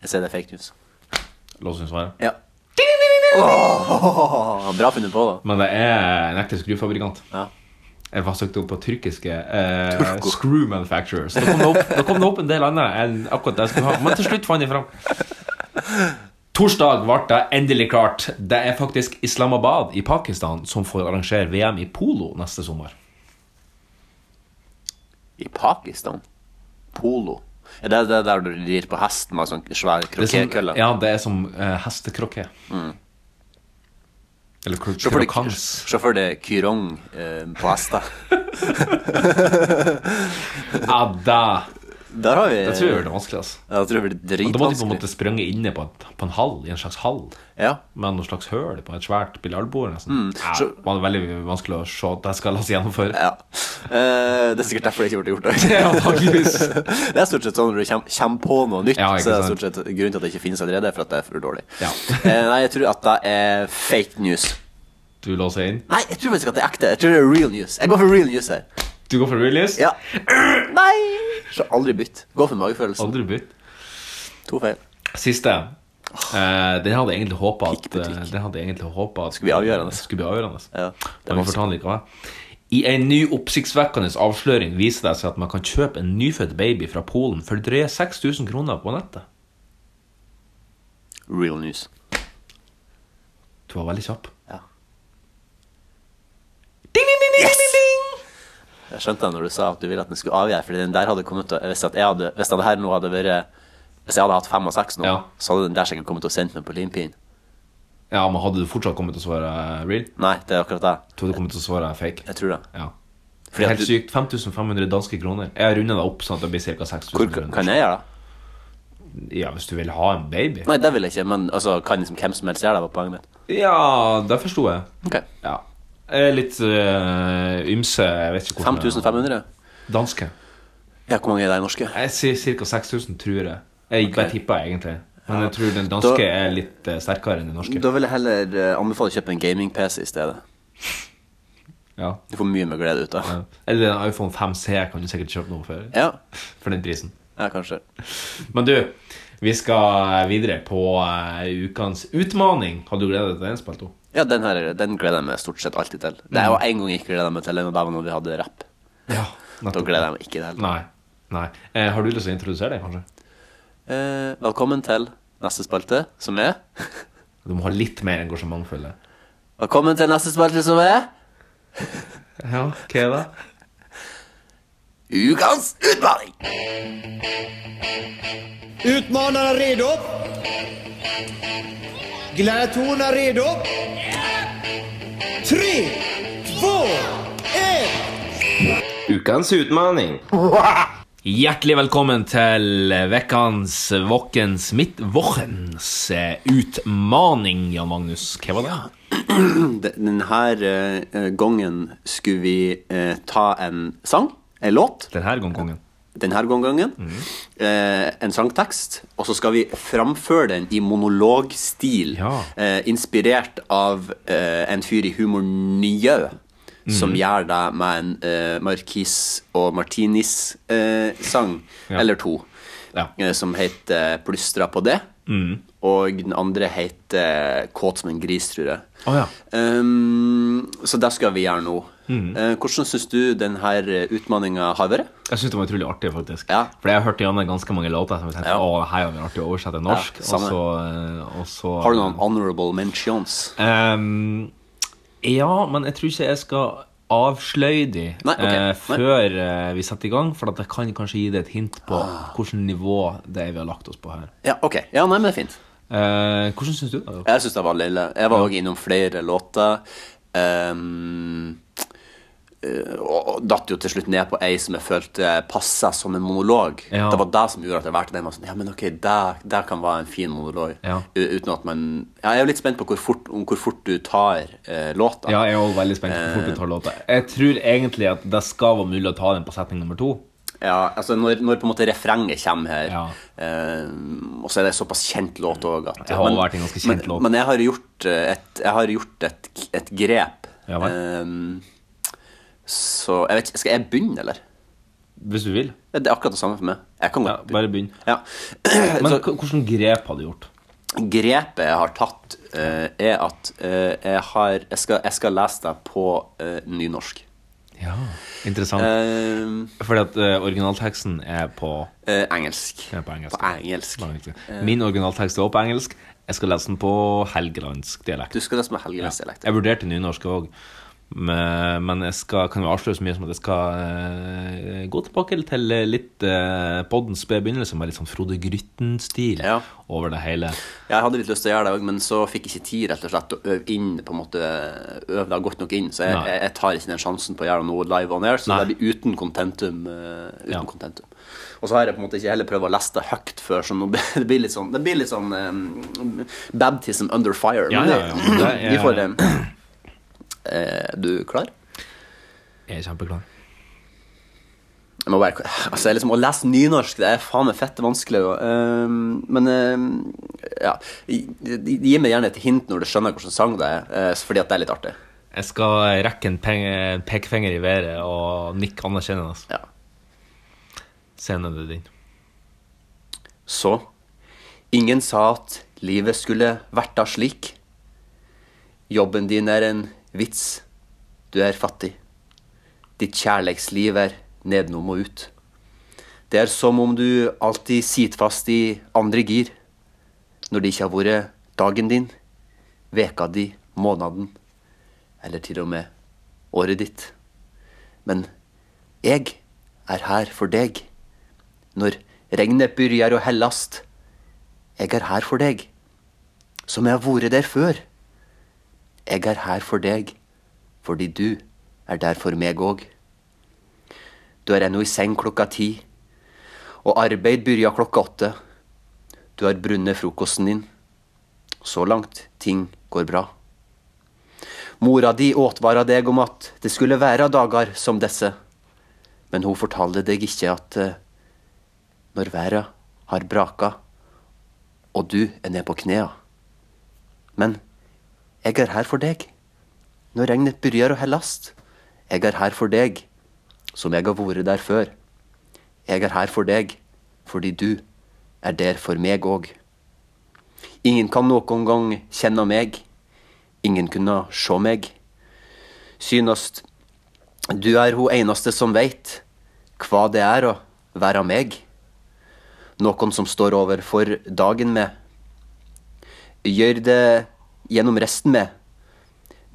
Speaker 3: Jeg sier det er fake news.
Speaker 2: Lås inn svaret.
Speaker 3: Ja. Åh, bra funnet på, da.
Speaker 2: Men det er en ekte skruefabrikant.
Speaker 3: Ja.
Speaker 2: Jeg var søkt opp på tyrkiske eh, Screw Manufacturers. Da kom, det opp, da kom det opp en del annet enn akkurat det jeg skulle ha. Men til slutt fant jeg fram. Torsdag ble det endelig klart. Det er faktisk Islamabad i Pakistan som får arrangere VM i polo neste sommer.
Speaker 3: I Pakistan? Polo? Er det det der du rir på hesten med sånn svær
Speaker 2: Det er som,
Speaker 3: kroketkølle? Mm.
Speaker 2: ja, det er som eh, hestekroké. Eller kro-
Speaker 3: Se for deg-
Speaker 2: krokans.
Speaker 3: Se for deg kyrong eh, på hester.
Speaker 2: Ja, det
Speaker 3: Der har vi
Speaker 2: Det tror jeg blir det vanskelig. ass.
Speaker 3: Jeg tror det blir
Speaker 2: Da må de på en måte
Speaker 3: dritvanskelig.
Speaker 2: sprunget inne på, en- på en hall, i en slags hall,
Speaker 3: Ja.
Speaker 2: med noe slags høl på et svært biljardbord. nesten. Ja,
Speaker 3: Mm. så-
Speaker 2: det var veldig vanskelig å se at det skal la oss gjennomføre.
Speaker 3: ja. Eh, det er sikkert derfor det ikke ble gjort. det.
Speaker 2: Ja, antageligvis.
Speaker 3: det er stort sett sånn når du kommer, kommer på noe nytt,
Speaker 2: Ja, ikke
Speaker 3: så er det
Speaker 2: sant.
Speaker 3: stort sett grunnen til at det ikke finnes allerede, er for at det er for dårlig.
Speaker 2: Ja.
Speaker 3: Eh, nei, jeg tror at det er fake news.
Speaker 2: Du låser inn.
Speaker 3: Nei, jeg tror faktisk at det er ekte. Jeg tror det er real news. Jeg går for real news her.
Speaker 2: Du går for release.
Speaker 3: Ja. Nei! Så aldri bytt. Gå for magefølelsen.
Speaker 2: Aldri bytt.
Speaker 3: To feil.
Speaker 2: Siste. Eh, den hadde jeg egentlig håpa at,
Speaker 3: Prikk på prikk.
Speaker 2: eh, den hadde jeg egentlig håpet at
Speaker 3: Skulle bli avgjørende.
Speaker 2: Skulle bli avgjørende.
Speaker 3: Ja, det er
Speaker 2: Men vi får ta den likevel. I en ny oppsiktsvekkende avsløring viser det seg at man kan kjøpe en nyfødt baby fra Polen for drøye 6000 kroner på nettet.
Speaker 3: Real news.
Speaker 2: Du var veldig kjapp.
Speaker 3: Ja.
Speaker 2: Ding, ding, ding, ding, ding, ding.
Speaker 3: Jeg skjønte det når du sa at du ville at den skulle avgjøre, fordi den der hadde kommet til å Hvis at jeg hadde Hvis det her nå hadde vært Hvis jeg hadde hatt fem og seks nå,
Speaker 2: Ja.
Speaker 3: så hadde den der sikkert kommet til å sende meg på limpinn.
Speaker 2: Ja, men hadde du fortsatt kommet til å svare real?
Speaker 3: Nei, det er akkurat det.
Speaker 2: Du hadde kommet til å svare fake.
Speaker 3: Jeg tror det.
Speaker 2: Ja.
Speaker 3: Fordi at
Speaker 2: Helt
Speaker 3: du-
Speaker 2: sykt. 5500 danske kroner. Jeg runder det opp sånn at det blir ca. 6000
Speaker 3: Hvor
Speaker 2: kroner.
Speaker 3: kan jeg gjøre det?
Speaker 2: Ja, hvis du vil ha en baby?
Speaker 3: Nei, det vil jeg ikke, men altså, kan liksom hvem som helst gjøre det, var poenget mitt.
Speaker 2: Ja, det forsto jeg.
Speaker 3: Ok.
Speaker 2: Ja. Jeg er litt øh, ymse. Jeg vet ikke hvordan
Speaker 3: 5500?
Speaker 2: Danske.
Speaker 3: Ja, hvor mange er det i norske?
Speaker 2: Jeg sier ca. 6000, tror jeg. Jeg bare tipper, egentlig. Men jeg tror den danske
Speaker 3: Da-
Speaker 2: er litt eh, sterkere enn den norske.
Speaker 3: Da vil jeg heller eh, anbefale å kjøpe en gaming-PC i stedet.
Speaker 2: Ja.
Speaker 3: Du får mye mer glede ut av.
Speaker 2: ja. Eller en iPhone 5C kan du sikkert kjøpe noe for.
Speaker 3: Ja,
Speaker 2: For den prisen.
Speaker 3: ja kanskje.
Speaker 2: Men du, vi skal videre på eh, ukas utmaning. Har du gledet deg til den, Spalto?
Speaker 3: Ja, den her den gleder jeg meg stort sett alltid til. Det er jo en gang jeg ikke gleder meg til, og det var når vi hadde rapp.
Speaker 2: Ja.
Speaker 3: Da gleder jeg meg ikke til.
Speaker 2: Nei. Nei. Eh, har du lyst til å introdusere deg, kanskje?
Speaker 3: Eh, velkommen til neste spalte, som er
Speaker 2: Du må ha litt mer engasjement, føler jeg.
Speaker 3: Velkommen til neste spalte, som er
Speaker 2: Ja, hva er det?
Speaker 3: Ukens utfordring!
Speaker 8: Utmanarna redo? Gladiatorerna redo? Tre, två, ett!
Speaker 2: Ukens utmaning. Hjertelig velkommen til vekkans, vokkens, mitt vokkens eh, utmaning, Jan Magnus. Hva var det?
Speaker 3: Denne eh, gangen skulle vi eh, ta en sang, en låt,
Speaker 2: Denne gongongen.
Speaker 3: denne gangen.
Speaker 2: Mm.
Speaker 3: Eh, en sangtekst. Og så skal vi framføre den i monologstil,
Speaker 2: Ja.
Speaker 3: eh, inspirert av eh, en fyr i Humor Nye.
Speaker 2: Mm.
Speaker 3: Som gjør det med en eh, Marquis og Martinis-sang,
Speaker 2: Ja.
Speaker 3: eller to,
Speaker 2: Ja. Mm.
Speaker 3: eh, som heter 'Plystra på det'. Og den andre heter 'Kåt som en gris', tror jeg.
Speaker 2: Å ja.
Speaker 3: Ehm, så det skal vi gjøre nå.
Speaker 2: Mm.
Speaker 3: Eh, hvordan syns du denne utfordringa har vært?
Speaker 2: Jeg syns det var utrolig artig, faktisk.
Speaker 3: Ja.
Speaker 2: For jeg har hørt gjennom ganske mange låter som jeg tenkte
Speaker 3: Ja.
Speaker 2: å, det her er jo artig å oversette til norsk.
Speaker 3: Ja, samme.
Speaker 2: og, så, eh, og så
Speaker 3: Har du noen honorable mentions?
Speaker 2: Ehm, ja, men jeg tror ikke jeg skal avsløye de
Speaker 3: Nei, ok.
Speaker 2: eh,
Speaker 3: Nei.
Speaker 2: før eh, vi setter i gang, for at jeg kan kanskje gi deg et hint på
Speaker 3: Ah.
Speaker 2: hvilket nivå det er vi har lagt oss på her.
Speaker 3: Ja, ok. Ja, nei, men det er fint.
Speaker 2: Eh, hvordan syns du det? da?
Speaker 3: Jeg syns det var veldig ille. Jeg var òg innom flere låter. Ehm, eh, og og datt jo til slutt ned på ei som jeg følte passa som en monolog.
Speaker 2: Ja.
Speaker 3: Det var det som gjorde at jeg valgte den. Jeg var Sånn, ja, men ok, det, det kan være en fin monolog.
Speaker 2: Ja.
Speaker 3: U- Uten at man ja, Jeg er jo litt spent på hvor fort, om hvor fort du tar eh, låta.
Speaker 2: Ja, jeg er også veldig spent på hvor fort du tar låta.
Speaker 3: Eh.
Speaker 2: Jeg tror egentlig at det skal være mulig å ta den på setning nummer to.
Speaker 3: Ja, altså når, når på en måte refrenget kommer her,
Speaker 2: Ja.
Speaker 3: eh, og så er det såpass kjent låt òg at
Speaker 2: Det har vært en ganske kjent
Speaker 3: men,
Speaker 2: låt.
Speaker 3: Men jeg har gjort eh, et, jeg har gjort et, et grep.
Speaker 2: Ja vel.
Speaker 3: Eh, så jeg vet ikke Skal jeg begynne, eller?
Speaker 2: Hvis du vil.
Speaker 3: Det er akkurat det samme for meg. Jeg kan
Speaker 2: Ja,
Speaker 3: godt
Speaker 2: bare begynn.
Speaker 3: Ja.
Speaker 2: Men h- hvordan grep har du gjort?
Speaker 3: Grepet jeg har tatt, eh, er at eh, jeg, har, jeg, skal, jeg skal lese det på eh, nynorsk.
Speaker 2: Ja, Interessant.
Speaker 3: Eh,
Speaker 2: Fordi at eh, originalteksten er på
Speaker 3: eh, engelsk.
Speaker 2: Den er på engelsk.
Speaker 3: På engelsk.
Speaker 2: Bare riktig. Min originaltekst er også på engelsk. Jeg skal lese den på helgelandsk dialekt.
Speaker 3: Du skal lese med helgelandsdialekt.
Speaker 2: Jeg vurderte nynorsk òg, men jeg skal, kan jo avsløre så mye som at jeg skal eh, gå tilbake til litt eh, poddens spede begynnelse, med litt sånn Frode Grytten-stil
Speaker 3: Ja.
Speaker 2: over det hele.
Speaker 3: Jeg hadde litt lyst til å gjøre det òg, men så fikk jeg ikke tid rett og slett å øve inn på en måte, øve det godt nok inn. Så jeg,
Speaker 2: Nei.
Speaker 3: jeg, jeg tar ikke den sjansen på å gjøre noe live on air, så
Speaker 2: Nei.
Speaker 3: det blir uten contentum. eh, uten
Speaker 2: Ja.
Speaker 3: contentum. Og så har jeg på en måte ikke heller prøvd å lese det høyt før, så nå blir det blir litt sånn, det blir litt sånn eh, baptism under fire.
Speaker 2: Ja, ja,
Speaker 3: Men
Speaker 2: ja,
Speaker 3: det-
Speaker 2: men det er-
Speaker 3: vi får eh, Er du klar?
Speaker 2: Jeg er kjempeklar.
Speaker 3: Jeg må bare, altså, jeg liksom, å lese nynorsk det er faen meg fette vanskelig. Og, ehm, men ehm, ja gi- Gi meg gjerne et hint når du skjønner hvilken sang det er, eh, fordi at det er litt artig.
Speaker 2: Jeg skal eh, rekke en penge- pekefinger i været og nikke anerkjennende.
Speaker 3: Ja.
Speaker 2: Scenen er din.
Speaker 3: Så Ingen sa at livet skulle vært da slik. Jobben din er en vits. Du er fattig. Ditt kjærleiksliv er nedenom og ut. Det er som om du alltid sitter fast i andre gir. Når det ikke har vært dagen din, veka di, måneden, eller til og med året ditt. Men jeg er her for deg. Når regnet byrjar å hellast, jeg er her for deg, som jeg har vært der før. Jeg er her for deg, fordi du er der for meg òg. Du er ennå i seng klokka ti, og arbeid byrjar klokka åtte. Du har brunnet frokosten din. Så langt ting går bra. Mora di åtvara deg om at det skulle være dager som disse, men hun fortalte deg ikke at eh, når været har braka, og du er ned på knea. Men jeg er her for deg. Når regnet begynner å hellast, jeg er her for deg, som jeg har vært der før. Jeg er her for deg, fordi du er der for meg òg. Ingen kan noen gang kjenne meg, ingen kunne sjå meg. Synast du er hun eneste som veit hva det er å være meg noen som står overfor dagen med. Gjør det gjennom resten med,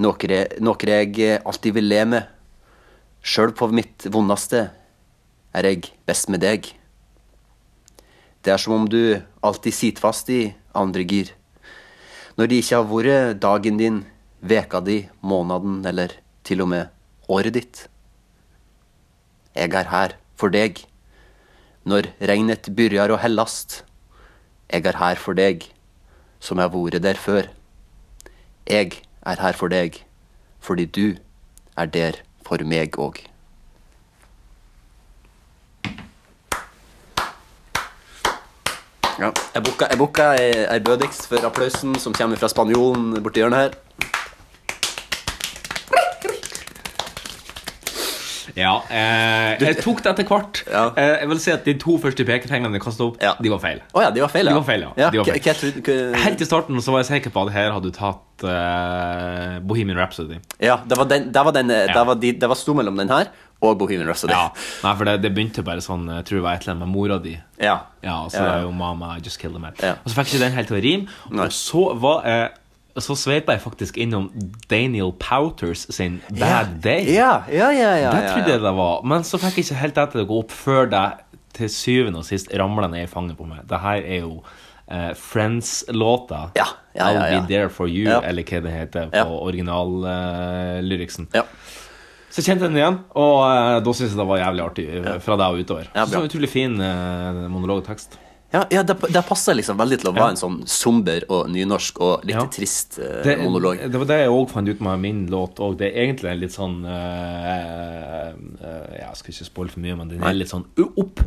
Speaker 3: noe, noe jeg alltid vil le med. Sjøl på mitt vondeste er jeg best med deg. Det er som om du alltid sitter fast i andre gir. Når det ikke har vært dagen din, veka di, måneden eller til og med året ditt. Jeg er her for deg når regnet byrjar å hellast. Jeg er her for deg, som jeg har vært der før. Jeg er her for deg, fordi du er der for meg òg. Ja. Jeg booka, jeg booka ei, ei bødigst for applausen som kommer fra spanjolen borti hjørnet her.
Speaker 2: Ja. Eh, jeg tok det etter hvert.
Speaker 3: Ja.
Speaker 2: Eh, jeg vil si at De to første pekefingerne jeg kastet opp,
Speaker 3: Ja.
Speaker 2: de var feil.
Speaker 3: Å ja, de var feil, ja.
Speaker 2: De var feil, ja. De var
Speaker 3: hva-
Speaker 2: feil.
Speaker 3: hva trodde- hva-
Speaker 2: Helt i starten så var jeg sikker på at her hadde du tatt eh, Bohemian Rhapsody.
Speaker 3: ja, det var, den, det, var den, det,
Speaker 2: Ja.
Speaker 3: var de, det var sto mellom den her og Bohemian Rhapsody.
Speaker 2: Ja. Nei, for det, det begynte bare sånn Jeg tror det var et eller annet med mora di.
Speaker 3: Ja.
Speaker 2: Ja, og så
Speaker 3: Ja.
Speaker 2: var jo mamma I just killed a man.
Speaker 3: Ja.
Speaker 2: Og så fikk jeg ikke den helt til å rime.
Speaker 3: Nei.
Speaker 2: Og så var eh, så sveipa jeg faktisk innom Daniel Powters sin Bad Day.
Speaker 3: Ja, ja, ja, ja,
Speaker 2: Det
Speaker 3: ja,
Speaker 2: trodde
Speaker 3: ja.
Speaker 2: jeg det var, men så fikk jeg ikke helt etter det gå opp før det til syvende og sist ramla ned i fanget på meg. Det her er jo eh, Friends-låta.
Speaker 3: Ja, ja, ja, ja.
Speaker 2: I'll Be There For You,
Speaker 3: Ja.
Speaker 2: eller hva det heter på
Speaker 3: Ja.
Speaker 2: originallyriksen.
Speaker 3: Ja.
Speaker 2: Så jeg kjente jeg den igjen, og eh, da syntes jeg det var jævlig artig eh, fra da og utover.
Speaker 3: Ja,
Speaker 2: så
Speaker 3: bra.
Speaker 2: det var utrolig fin eh, monolog og tekst.
Speaker 3: Ja, ja det, det passer liksom veldig til å være en sånn somber og nynorsk og litt
Speaker 2: Ja.
Speaker 3: trist eh,
Speaker 2: det,
Speaker 3: monolog.
Speaker 2: Det var det jeg òg fant ut med min låt òg. Det er egentlig en litt sånn eh, eh, Jeg skal ikke spoile for mye, men den
Speaker 3: Nei.
Speaker 2: er litt sånn u- opp.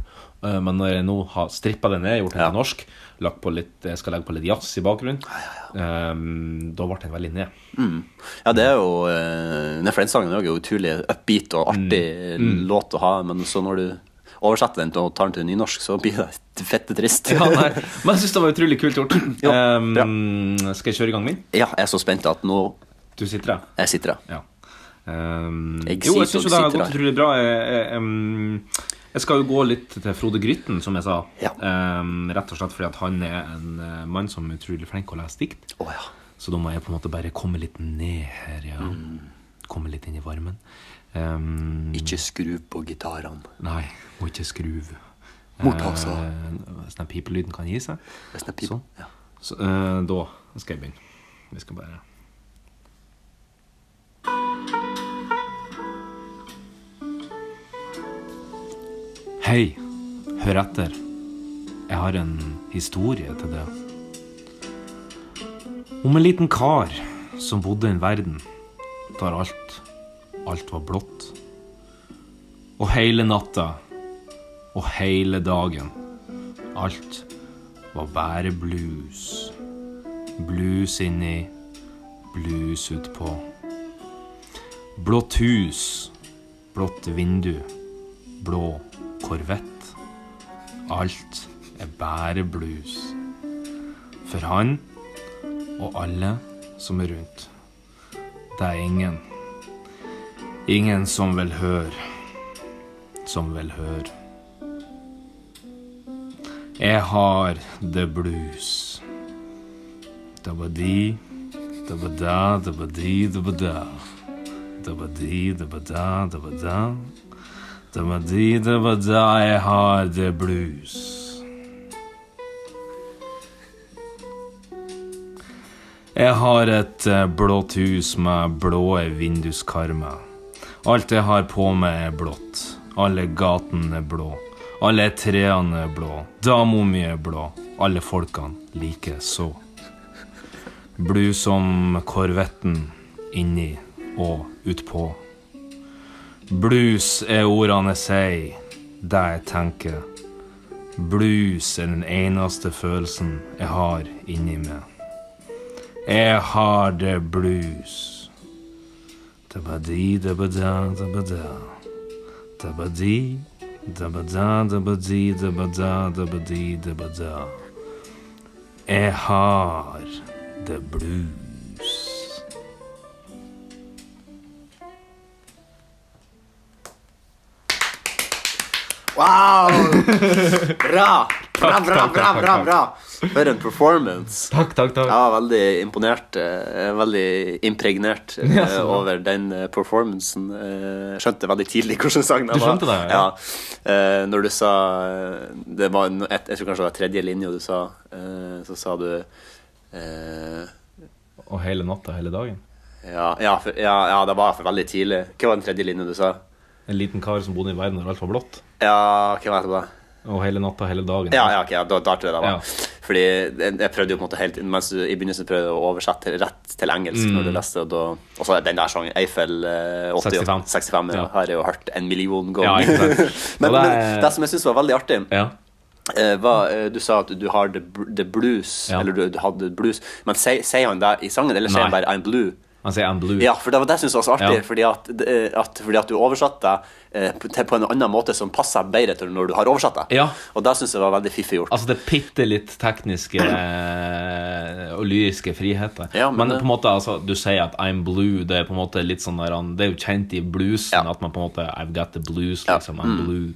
Speaker 2: Eh, men når jeg nå har strippa den ned, gjort den til norsk, lagt på litt, jeg skal legge på litt jazz i bakgrunnen, eh, da ble den veldig ned.
Speaker 3: Ja, det er jo eh, Den Friends-sangen er jo utrolig upbeat og
Speaker 2: Mm.
Speaker 3: artig låt å ha, men så når du oversetter den til- og tar den til nynorsk, så blir det fette trist.
Speaker 2: Ja, nei, men jeg syns det var utrolig kult gjort.
Speaker 3: Ja,
Speaker 2: Eh, Skal jeg kjøre i gang min?
Speaker 3: Ja, jeg er så spent at nå
Speaker 2: Du sitter der.
Speaker 3: jeg sitter her.
Speaker 2: Ja. Ehm,
Speaker 3: Jeg
Speaker 2: jo, jeg
Speaker 3: sier
Speaker 2: syns
Speaker 3: så
Speaker 2: jo det har
Speaker 3: sitter
Speaker 2: gått
Speaker 3: der.
Speaker 2: utrolig bra. Jeg, jeg, ehm, jeg skal jo gå litt til Frode Grytten, som jeg sa.
Speaker 3: Ja.
Speaker 2: Ehm, rett og slett fordi at han er en eh, mann som er utrolig flink å lese dikt.
Speaker 3: Å ja.
Speaker 2: Så da må jeg på en måte bare komme litt ned her, ja.
Speaker 3: Mm.
Speaker 2: Komme litt inn i varmen. Ehm,
Speaker 3: Ikke skru på gitarene.
Speaker 2: Nei, må ikke skruve.
Speaker 3: Motta, altså.
Speaker 2: Eh, hvis den pipelyden kan gi seg.
Speaker 3: Hvis den er pip-
Speaker 2: Sånn.
Speaker 3: ja.
Speaker 2: Så, eh, da skal jeg begynne. Vi skal bare Hei,
Speaker 9: Hør etter. Jeg har en historie til det. Om en liten kar som bodde i en verden der alt, alt var blått. Og hele natta og hele dagen, alt var bare blues. Blues inni, blues utpå. Blått hus, blått vindu, blå korvett. Alt er bare blues. For han og alle som er rundt. Det er ingen. Ingen som vil høre. Som vil høre. Jeg har the blues. Dabadi, dabada, dabadi, dabada. Dabadi, dabada, dabada. Dabadi, dabada, jeg har the blues. Jeg har et eh, blått hus med blå vinduskarmer. Alt jeg har på meg er blått. Alle gatene er blå. Alle trærne er blå. Dama mi er blå. Alle folkene like så. Blu som korvetten inni og utpå. Blues er ordene jeg sier, det jeg tenker. Blues er den eneste følelsen jeg har inni meg. Jeg har the blues. Dabadi, dabada, dabada. Dabadi, dabada, dabadi, dabada, dabadi, dabada. Jeg har the blues.
Speaker 3: Wow! Bra! Bra, bra, bra, bra, bra. For en performance.
Speaker 2: Takk, takk, takk.
Speaker 3: Jeg var veldig imponert, eh, veldig impregnert eh,
Speaker 2: Ja, så bra.
Speaker 3: over den eh, performancen. Eh, skjønte veldig tidlig hvordan sangen
Speaker 2: Du skjønte det,
Speaker 3: Ja.
Speaker 2: ja.
Speaker 3: Eh, når du sa eh, Det var en- et, Jeg tror kanskje det var tredje linje du sa. eh, så sa du eh,
Speaker 2: Og hele natta, hele dagen.
Speaker 3: ja, ja, for, ja, ja, det var for veldig tidlig. Hva var den tredje linja du sa?
Speaker 2: En liten kar som bodde i en verden der alt var blått.
Speaker 3: Ja, hva var det etterpå?
Speaker 2: Og hele natta, hele dagen.
Speaker 3: Ja, ja, ok, ja, da, da tror jeg det var.
Speaker 2: Ja.
Speaker 3: Fordi jeg, jeg prøvde jo på en måte helt Mens du i begynnelsen prøvde jeg å oversette rett til engelsk
Speaker 2: Mm.
Speaker 3: når du leste, og da Og så den der sangen, Eiffel eh, 80,
Speaker 2: 65.
Speaker 3: 65 ja.
Speaker 2: Ja.
Speaker 3: har jeg jo hørt en
Speaker 2: Ja,
Speaker 3: million ganger.
Speaker 2: ikke sant.
Speaker 3: men,
Speaker 2: Og det er-
Speaker 3: men det som jeg syns var veldig artig,
Speaker 2: Ja.
Speaker 3: eh, var eh, Du sa at du har the, br- the blues,
Speaker 2: Ja.
Speaker 3: eller du, du hadde blues, men sier sier han det i sangen, eller sier han
Speaker 2: Nei.
Speaker 3: bare I'm blue?
Speaker 2: Han sier 'I'm blue'.
Speaker 3: Ja, for det var det jeg syntes var så artig,
Speaker 2: Ja.
Speaker 3: fordi, at, det- at, fordi at du oversatte det eh, på- til- på en annen måte som passer bedre til når du har oversatt det.
Speaker 2: Ja.
Speaker 3: Og det syns jeg var veldig fiffig gjort.
Speaker 2: Altså det bitte litt tekniske eh, og lyriske friheter.
Speaker 3: Ja, men
Speaker 2: men
Speaker 3: det-
Speaker 2: på en måte, altså, du sier at 'I'm blue'. Det er på en måte litt sånn der, han- Det er jo kjent i bluesen
Speaker 3: Ja. Mm.
Speaker 2: at man på en måte 'I've got the blues', liksom. I'm blue.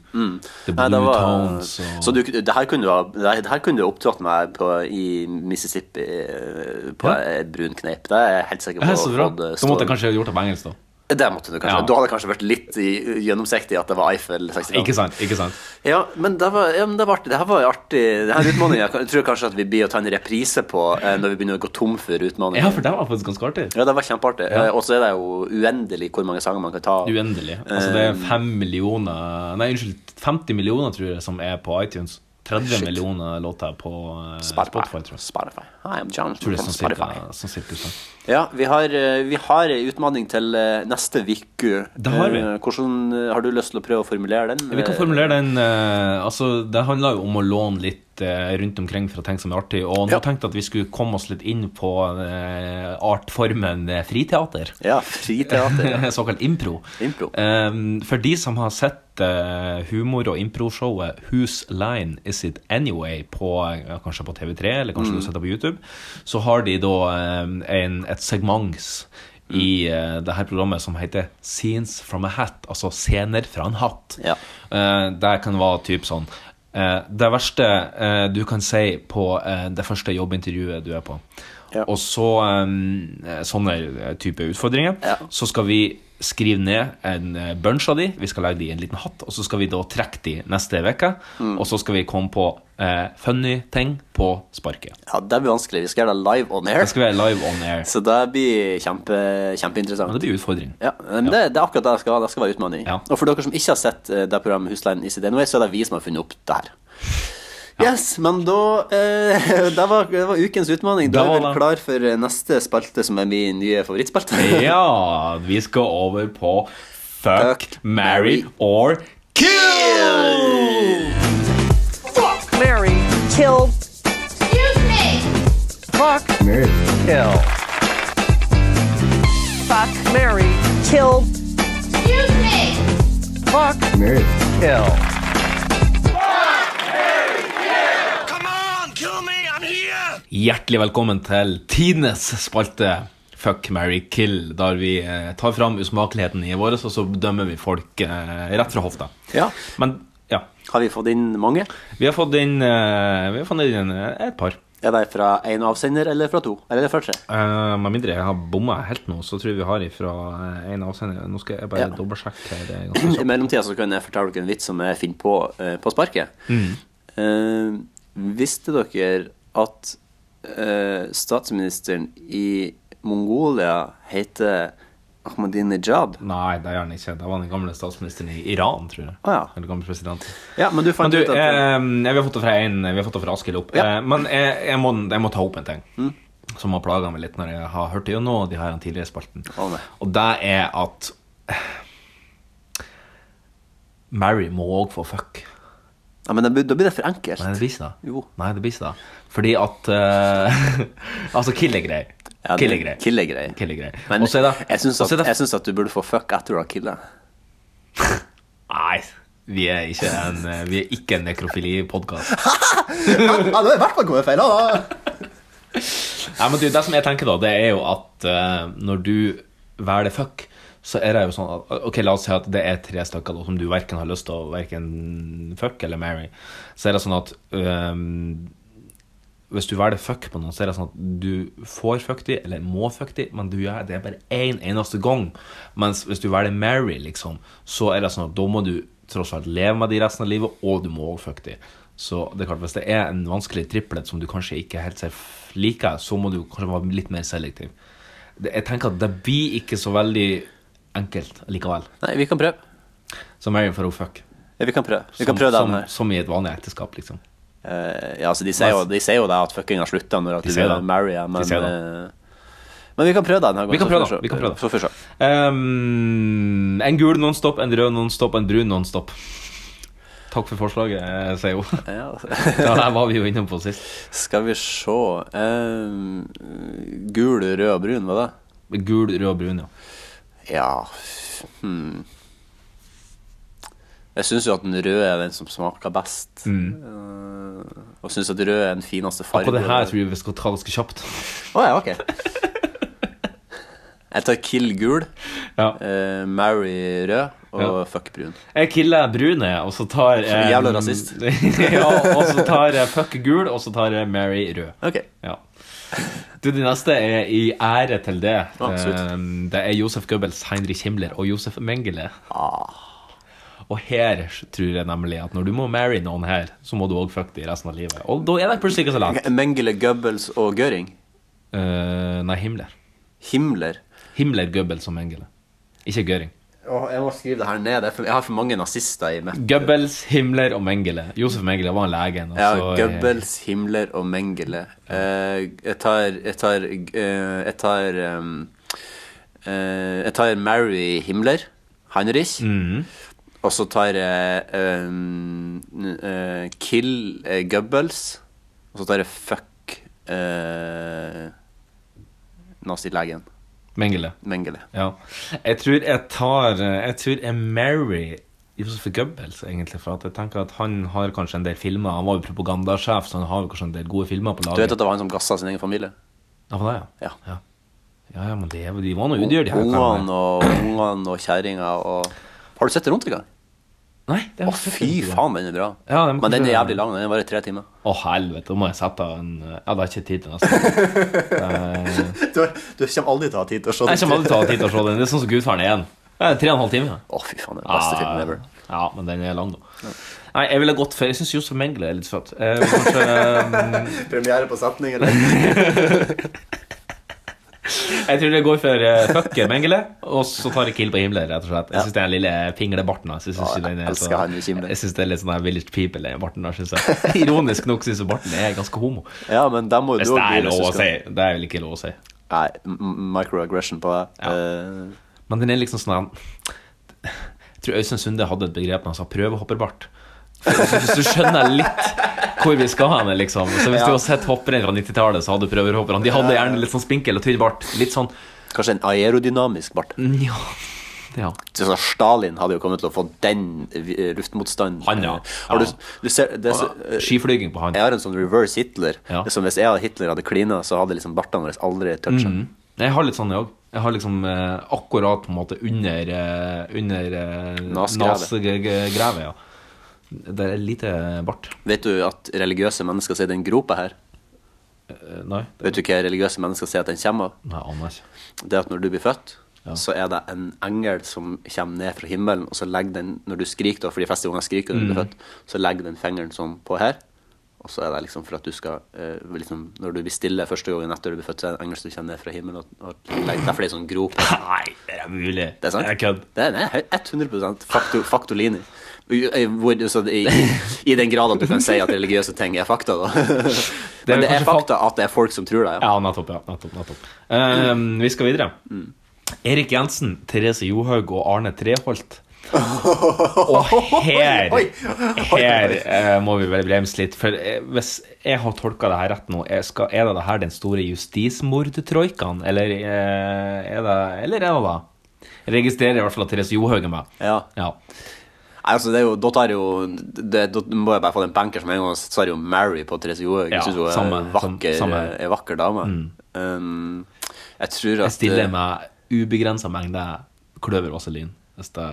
Speaker 2: The
Speaker 3: Nei,
Speaker 2: blue
Speaker 3: det var,
Speaker 2: tones. Og...
Speaker 3: Så du, det her kunne du ha det her- det her kunne du opptrådt med på, i Mississippi eh, på
Speaker 2: Ja.
Speaker 3: et brun kneip. Det er jeg helt sikker på.
Speaker 2: Det er så bra.
Speaker 3: hadde
Speaker 2: Da
Speaker 3: stått-
Speaker 2: måtte jeg kanskje gjort det på engelsk, da.
Speaker 3: eh, Det måtte du kanskje.
Speaker 2: Ja.
Speaker 3: Du hadde kanskje vært litt i, gjennomsiktig i at det var Eiffel 65.
Speaker 2: Ikke sant? ikke sant
Speaker 3: Ja, men det var, ja, men det var artig. Det her var jo artig. Det her utfordringen jeg tror kanskje at vi blir å ta en reprise på eh, når vi begynner å gå tom for utfordringer.
Speaker 2: Ja, for det var faktisk ganske artig.
Speaker 3: Ja, det var kjempeartig. Eh, Og så er det jo uendelig hvor mange sanger man kan ta. Eh,
Speaker 2: Uendelig. Altså det er fem millioner Nei, unnskyld, 50 millioner, tror jeg, som er på iTunes. 30
Speaker 3: Shit.
Speaker 2: millioner låter på eh, Spotify, tror jeg.
Speaker 3: Spotify. Hi, I'm John
Speaker 2: Tror det er
Speaker 3: from
Speaker 2: sånn
Speaker 3: Spotify.
Speaker 2: cirka, sånn cirka sånn.
Speaker 3: Ja, vi har, eh, vi har en utfordring til eh, neste uke.
Speaker 2: Det har vi.
Speaker 3: Eh, Hvordan eh, har du lyst til å prøve å formulere den?
Speaker 2: Vi kan
Speaker 3: Eh,
Speaker 2: formulere den eh, Altså, det handler jo om å låne litt eh, rundt omkring for å tenke som er artig. Og nå
Speaker 3: Ja.
Speaker 2: tenkte jeg at vi skulle komme oss litt inn på eh, artformen eh, friteater.
Speaker 3: Ja, friteater. ja.
Speaker 2: Såkalt impro.
Speaker 3: Impro.
Speaker 2: Ehm, for de som har sett eh, humor- og improshowet Whose Line Is It Anyway på, ja, kanskje på TV3, eller
Speaker 3: Mm.
Speaker 2: kanskje du har sett det på YouTube, så har de da ehm, en, et segments
Speaker 3: Mm.
Speaker 2: i eh, det her programmet som heter Scenes from a Hat, altså scener fra en hatt.
Speaker 3: Ja.
Speaker 2: Eh, det kan være typ sånn eh, Det verste eh, du kan si på eh, det første jobbintervjuet du er på.
Speaker 3: Ja.
Speaker 2: Og så eh, sånne type utfordringer.
Speaker 3: Ja.
Speaker 2: Så skal vi Skriv ned en eh, bunch av de Vi skal legge de i en liten hatt Og så skal vi da trekke de neste veke
Speaker 3: Mm.
Speaker 2: Og så skal vi komme på eh, funny ting på sparket
Speaker 3: Ja, det blir vanskelig. Vi skal gjøre det live on
Speaker 2: Det
Speaker 3: air.
Speaker 2: skal være live on air
Speaker 3: Så det blir kjempe,
Speaker 2: Men
Speaker 3: kjempeinteressant.
Speaker 2: det blir utfordring
Speaker 3: Ja, men det, det er akkurat det jeg skal, det skal være utfordring.
Speaker 2: Ja.
Speaker 3: Og for dere som ikke har sett eh, det programmet Husleien i sitt NOE, E, så er det vi som har funnet opp det her. Yes, men da eh, det, var, det var ukens utfordring. Da
Speaker 2: Det
Speaker 3: er
Speaker 2: var
Speaker 3: vi
Speaker 2: det.
Speaker 3: vel klar for eh, neste spalte, som er min nye favorittspalte.
Speaker 2: Ja, vi skal over på Fuck,
Speaker 3: Fuck,
Speaker 2: marry
Speaker 3: marry,
Speaker 2: or kill! Hjertelig velkommen til tidenes spalte Fuck, marry, kill, der vi eh, tar fram usmakeligheten i våre, og så dømmer vi folk eh, rett fra hofta.
Speaker 3: Ja.
Speaker 2: Men ja,
Speaker 3: Har vi fått inn mange?
Speaker 2: vi har fått inn, eh, vi har fått inn eh, et par.
Speaker 3: Er det fra én avsender eller fra to? Eller er det fra tre?
Speaker 2: Eh, med mindre jeg har bomma helt nå, så tror jeg vi har ifra eh, en avsender. Nå skal jeg bare
Speaker 3: Ja.
Speaker 2: dobbeltsjekke her. eh, ganske
Speaker 3: I
Speaker 2: kjapt.
Speaker 3: mellomtida så kan jeg fortelle dere en vits som jeg finner på eh, på sparket.
Speaker 2: Mm.
Speaker 3: Eh, visste dere at eh, statsministeren i Mongolia heter Ahmadinejad?
Speaker 2: Nei, det gjør han ikke. Det var den gamle statsministeren i Iran, tror jeg.
Speaker 3: Å ja.
Speaker 2: Eller gamle presidenten.
Speaker 3: Ja, men du
Speaker 2: Men
Speaker 3: fant
Speaker 2: du,
Speaker 3: ut at
Speaker 2: eh, vi har fått det fra en Vi har fått det fra Askild opp.
Speaker 3: Ja. Mm.
Speaker 2: Eh, men jeg, jeg, må, jeg må ta opp en ting som har plaga meg litt når jeg har hørt gjennom de her tidligere spalten.
Speaker 3: Å, nei.
Speaker 2: Og det er at eh, Mary må òg få fuck.
Speaker 3: ja, men da blir- Da blir det for enkelt.
Speaker 2: Nei, det blir ikke det.
Speaker 3: Jo.
Speaker 2: Nei, det blir ikke det. Fordi at eh, Altså, kill er grei.
Speaker 3: Ja, det-
Speaker 2: Kill er grei.
Speaker 3: Kill er grei.
Speaker 2: Kill er grei.
Speaker 3: Men
Speaker 2: Og så er det
Speaker 3: jeg syns
Speaker 2: og så er
Speaker 3: at,
Speaker 2: det-
Speaker 3: jeg syns at du burde få fuck etter du har killa.
Speaker 2: Nei, vi er ikke en, eh, vi er ikke en nekrofili-podkast.
Speaker 3: Ja, da er i hvert fall kommet feil.
Speaker 2: Nei, men du, det som jeg tenker da, det er jo at eh, når du velger fuck, så er det jo sånn at Ok, la oss si at det er tre stykker da, som du verken har lyst til å verken fuck eller marry. Så er det sånn at eh, hvis du velger fuck på noen, så er det sånn at du får fuck de, eller må fuck de, men du gjør det bare én en, eneste gang. Mens hvis du velger marry, liksom, så er det sånn at da må du tross alt leve med de resten av livet, og du må også fuck de. Så det er klart, hvis det er en vanskelig triplet som du kanskje ikke helt ser f- liker, så må du kanskje være litt mer selektiv. Det- Jeg tenker at det blir ikke så veldig enkelt likevel.
Speaker 3: Nei, vi kan prøve.
Speaker 2: Så marry for å fuck.
Speaker 3: Ja, Vi kan prøve. Vi kan
Speaker 2: Som,
Speaker 3: prøve den
Speaker 2: som,
Speaker 3: her.
Speaker 2: som i et vanlig ekteskap, liksom.
Speaker 3: Eh, ja, altså de sier jo, de sier jo det at fucking har slutta når at
Speaker 2: De
Speaker 3: du
Speaker 2: sier
Speaker 3: vil
Speaker 2: det.
Speaker 3: marry henne,
Speaker 2: De
Speaker 3: men,
Speaker 2: sier
Speaker 3: eh, men vi kan prøve det denne gangen.
Speaker 2: Vi kan
Speaker 3: så
Speaker 2: prøve
Speaker 3: får
Speaker 2: det,
Speaker 3: se.
Speaker 2: vi kan prøve det.
Speaker 3: Så får vi se.
Speaker 2: Ehm, en gul nonstop, en rød nonstop, en brun nonstop. Takk for forslaget, eh, sier hun.
Speaker 3: Ja, altså.
Speaker 2: Ja, det var vi jo inne på sist.
Speaker 3: skal vi se Ehm, Gul, rød og brun, var det?
Speaker 2: Gul, rød og brun, ja.
Speaker 3: Ja hmm. Jeg syns jo at den røde er den som smaker best. Eh, og syns at rød er den fineste fargen.
Speaker 2: På Mm. det her tror jeg vi skal ta ganske kjapt.
Speaker 3: Å ja, ok. Jeg tar kill gul,
Speaker 2: Ja.
Speaker 3: eh, marry rød og
Speaker 2: Ja.
Speaker 3: fuck brun.
Speaker 2: Jeg killer brune, og så tar jeg
Speaker 3: Jævla rasist.
Speaker 2: ja, og så tar jeg fuck gul, og så tar jeg Mary rød.
Speaker 3: Ok.
Speaker 2: Ja. Du, det neste er i ære til det.
Speaker 3: Å, sweet.
Speaker 2: Ehm, det er Josef Goebbels, Heinrich Himmler og Josef Mengele.
Speaker 3: Ah.
Speaker 2: Og her tror jeg nemlig at når du må marry noen her, så må du òg fuck de resten av livet. Og da er det plutselig ikke så langt.
Speaker 3: Ok, Mengele, Goebbels og Göring.
Speaker 2: Eh, nei, Himmler.
Speaker 3: Himmler.
Speaker 2: Himmler, Goebbels og Mengele. Ikke Göring.
Speaker 3: jeg må skrive det her ned. det er for- Jeg har for mange nazister i meg.
Speaker 2: Goebbels, Himmler og Mengele. Josef Mengele var en lege. og
Speaker 3: Ja,
Speaker 2: så- eh,
Speaker 3: Goebbels, Himmler og Mengele. Eh, jeg tar Jeg tar eh, Jeg tar ehm, eh, Jeg tar Mary Himmler. Heinrich. Og så tar jeg ehm, n- eh, Kill eh, Goebbels. Og så tar jeg Fuck eh, nazilegen
Speaker 2: Mengele.
Speaker 3: Mengele.
Speaker 2: Ja. Jeg tror jeg tar Jeg tror jeg marry Josef Goebbels, egentlig. For at jeg tenker at han har kanskje en del filmer. Han var jo propagandasjef, så han har jo kanskje en del gode filmer på
Speaker 3: Du vet
Speaker 2: laget.
Speaker 3: at det var han som gassa sin egen familie?
Speaker 2: Ja, for det, ja.
Speaker 3: Ja.
Speaker 2: Ja. ja, ja, men det, de var nå udyre, de her
Speaker 3: Ungene og, ungene og kjerringa og Har du sett det rundt i gang?
Speaker 2: Nei, det
Speaker 3: Å,
Speaker 2: har jeg ikke
Speaker 3: fy
Speaker 2: sett.
Speaker 3: faen, den er bra.
Speaker 2: Ja, den må
Speaker 3: Men den er
Speaker 2: kanskje-
Speaker 3: jævlig lang. Den varer tre timer.
Speaker 2: Å, helvete. Da må jeg sette en Ja, det har jeg ikke tid til altså. nesten.
Speaker 3: Du, kommer aldri til å ha tid til å se
Speaker 2: Jeg kommer aldri til å ha tid til å se den. Det er sånn som Gudfaren 1. Det er Tre og en halv time. Ja.
Speaker 3: Å, fy faen, det er den
Speaker 2: Ah.
Speaker 3: beste filmen ever.
Speaker 2: Ja, men den er lang, da. Nei, jeg ville gått for Jeg syns Josef Mengele er litt søt. Jeg vil kanskje,
Speaker 3: Premiere på setning, eller?
Speaker 2: jeg tror jeg går for uh, fucke Mengele, og så tar jeg kill på Himle, rett og slett. Jeg syns den lille pinglebarten hans Jeg syns
Speaker 3: Ja, jeg
Speaker 2: den er så-
Speaker 3: elsker han i Himle.
Speaker 2: jeg synes det er litt sånn her Village People, den barten der, syns jeg. Ironisk nok syns jeg barten er ganske homo.
Speaker 3: Ja, men da må jo
Speaker 2: Hvis
Speaker 3: du
Speaker 2: det
Speaker 3: også bli
Speaker 2: er lov å
Speaker 3: skal-
Speaker 2: si. Det er vel ikke lov å si.
Speaker 3: Nei, m- microaggression på deg.
Speaker 2: Ja.
Speaker 3: Eh,
Speaker 2: Men den er liksom sånn her- Jeg tror Øystein Sunde hadde et begrep når han sa 'prøvehopperbart'. Så Hvis du skjønner litt hvor vi skal hen, liksom. Så hvis du har sett hopprenn fra 90-tallet, så hadde prøvehopperne De hadde gjerne litt sånn spinkel og tynn bart. Litt sånn
Speaker 3: kanskje en aerodynamisk bart.
Speaker 2: Nja. Ja.
Speaker 3: Så så Stalin hadde jo kommet til å få den eh, luftmotstanden. Eh,
Speaker 2: Han, ja.
Speaker 3: Har du,
Speaker 2: Ja.
Speaker 3: du ser, det, er så- eh,
Speaker 2: Skiflyging på han.
Speaker 3: jeg har en sånn reverse Hitler.
Speaker 2: Ja.
Speaker 3: Det er Som hvis jeg og Hitler hadde klina, så hadde liksom bartene våre aldri toucha.
Speaker 2: Jeg har litt sånn, jeg òg. Jeg har liksom eh, akkurat på en måte under eh, Under eh,
Speaker 3: Nasegrevet.
Speaker 2: nasegrevet, ja. Det er lite bart.
Speaker 3: Vet du at religiøse mennesker sier den gropa her?
Speaker 2: Eh, Nei, det
Speaker 3: Vet du hva religiøse mennesker sier at den kommer av?
Speaker 2: nei, jeg aner ikke.
Speaker 3: Det er at når du blir født, så er det en engel som kommer ned fra himmelen, og så legger den, når du skriker, da, for de fleste unger skriker når du blir født, så legger den fingeren sånn på her. Og så er det liksom for at du skal eh, liksom, Når du blir stille første gangen etter du blir født, så er det en engel som kommer ned fra himmelen og, og legger Derfor er det sånn grop.
Speaker 2: Nei, det er mulig.
Speaker 3: Det er sant?
Speaker 2: Jeg kødder.
Speaker 3: Det er, det er høy- 1100 fakto, faktolini. U- eh, Hvor, så i, I den grad at du kan si at religiøse ting er fakta, da. Men
Speaker 2: kanskje
Speaker 3: det er fakta at det er folk som tror det. Ja.
Speaker 2: Ja, nettopp. ja, nettopp, nettopp. Ehm, vi skal videre.
Speaker 3: Mm.
Speaker 2: Erik Jensen, Therese Johaug og Arne Treholt. Og her, her eh, må vi vel bremse litt, for eh, hvis jeg har tolka det her rett nå, er, skal, er det det her den store justismordtroikaen, eller eh, er det Eller er det det? Jeg registrerer i hvert fall at Therese Johaug er med.
Speaker 3: Ja.
Speaker 2: Ja.
Speaker 3: Nei, altså, det er jo, da tar jo det, Da må jeg bare få den banker som en gang, så tar jo Mary på Therese Johaug.
Speaker 2: Ja,
Speaker 3: jeg syns hun er
Speaker 2: samme,
Speaker 3: en vakker,
Speaker 2: samme her.
Speaker 3: en vakker dame. Um, jeg tror at eh,
Speaker 2: Jeg stiller med ubegrensa mengde kløvervaselin. Hvis det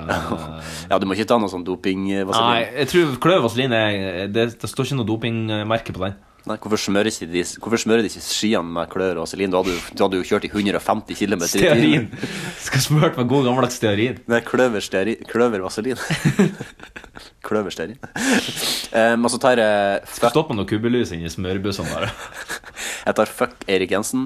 Speaker 3: Ja, du må ikke ta noe sånn doping
Speaker 2: Nei,
Speaker 3: Nei.
Speaker 2: jeg tror kløvervaselin er det, det står ikke noe dopingmerke på den.
Speaker 3: Nei, hvorfor, smører ikke de, hvorfor smører de ikke skiene med klør og vaselin? Da hadde du, da hadde du kjørt i 150 km i
Speaker 2: Stearin.
Speaker 3: timen.
Speaker 2: Skal smurt med god gammeldags stearin.
Speaker 3: Nei, kløverstearin Kløvervaselin. kløverstearin. Um, og så tar jeg fuck,
Speaker 2: Stopp med noe kubbelus inni smørbussene bare.
Speaker 3: jeg tar fuck Erik Jensen.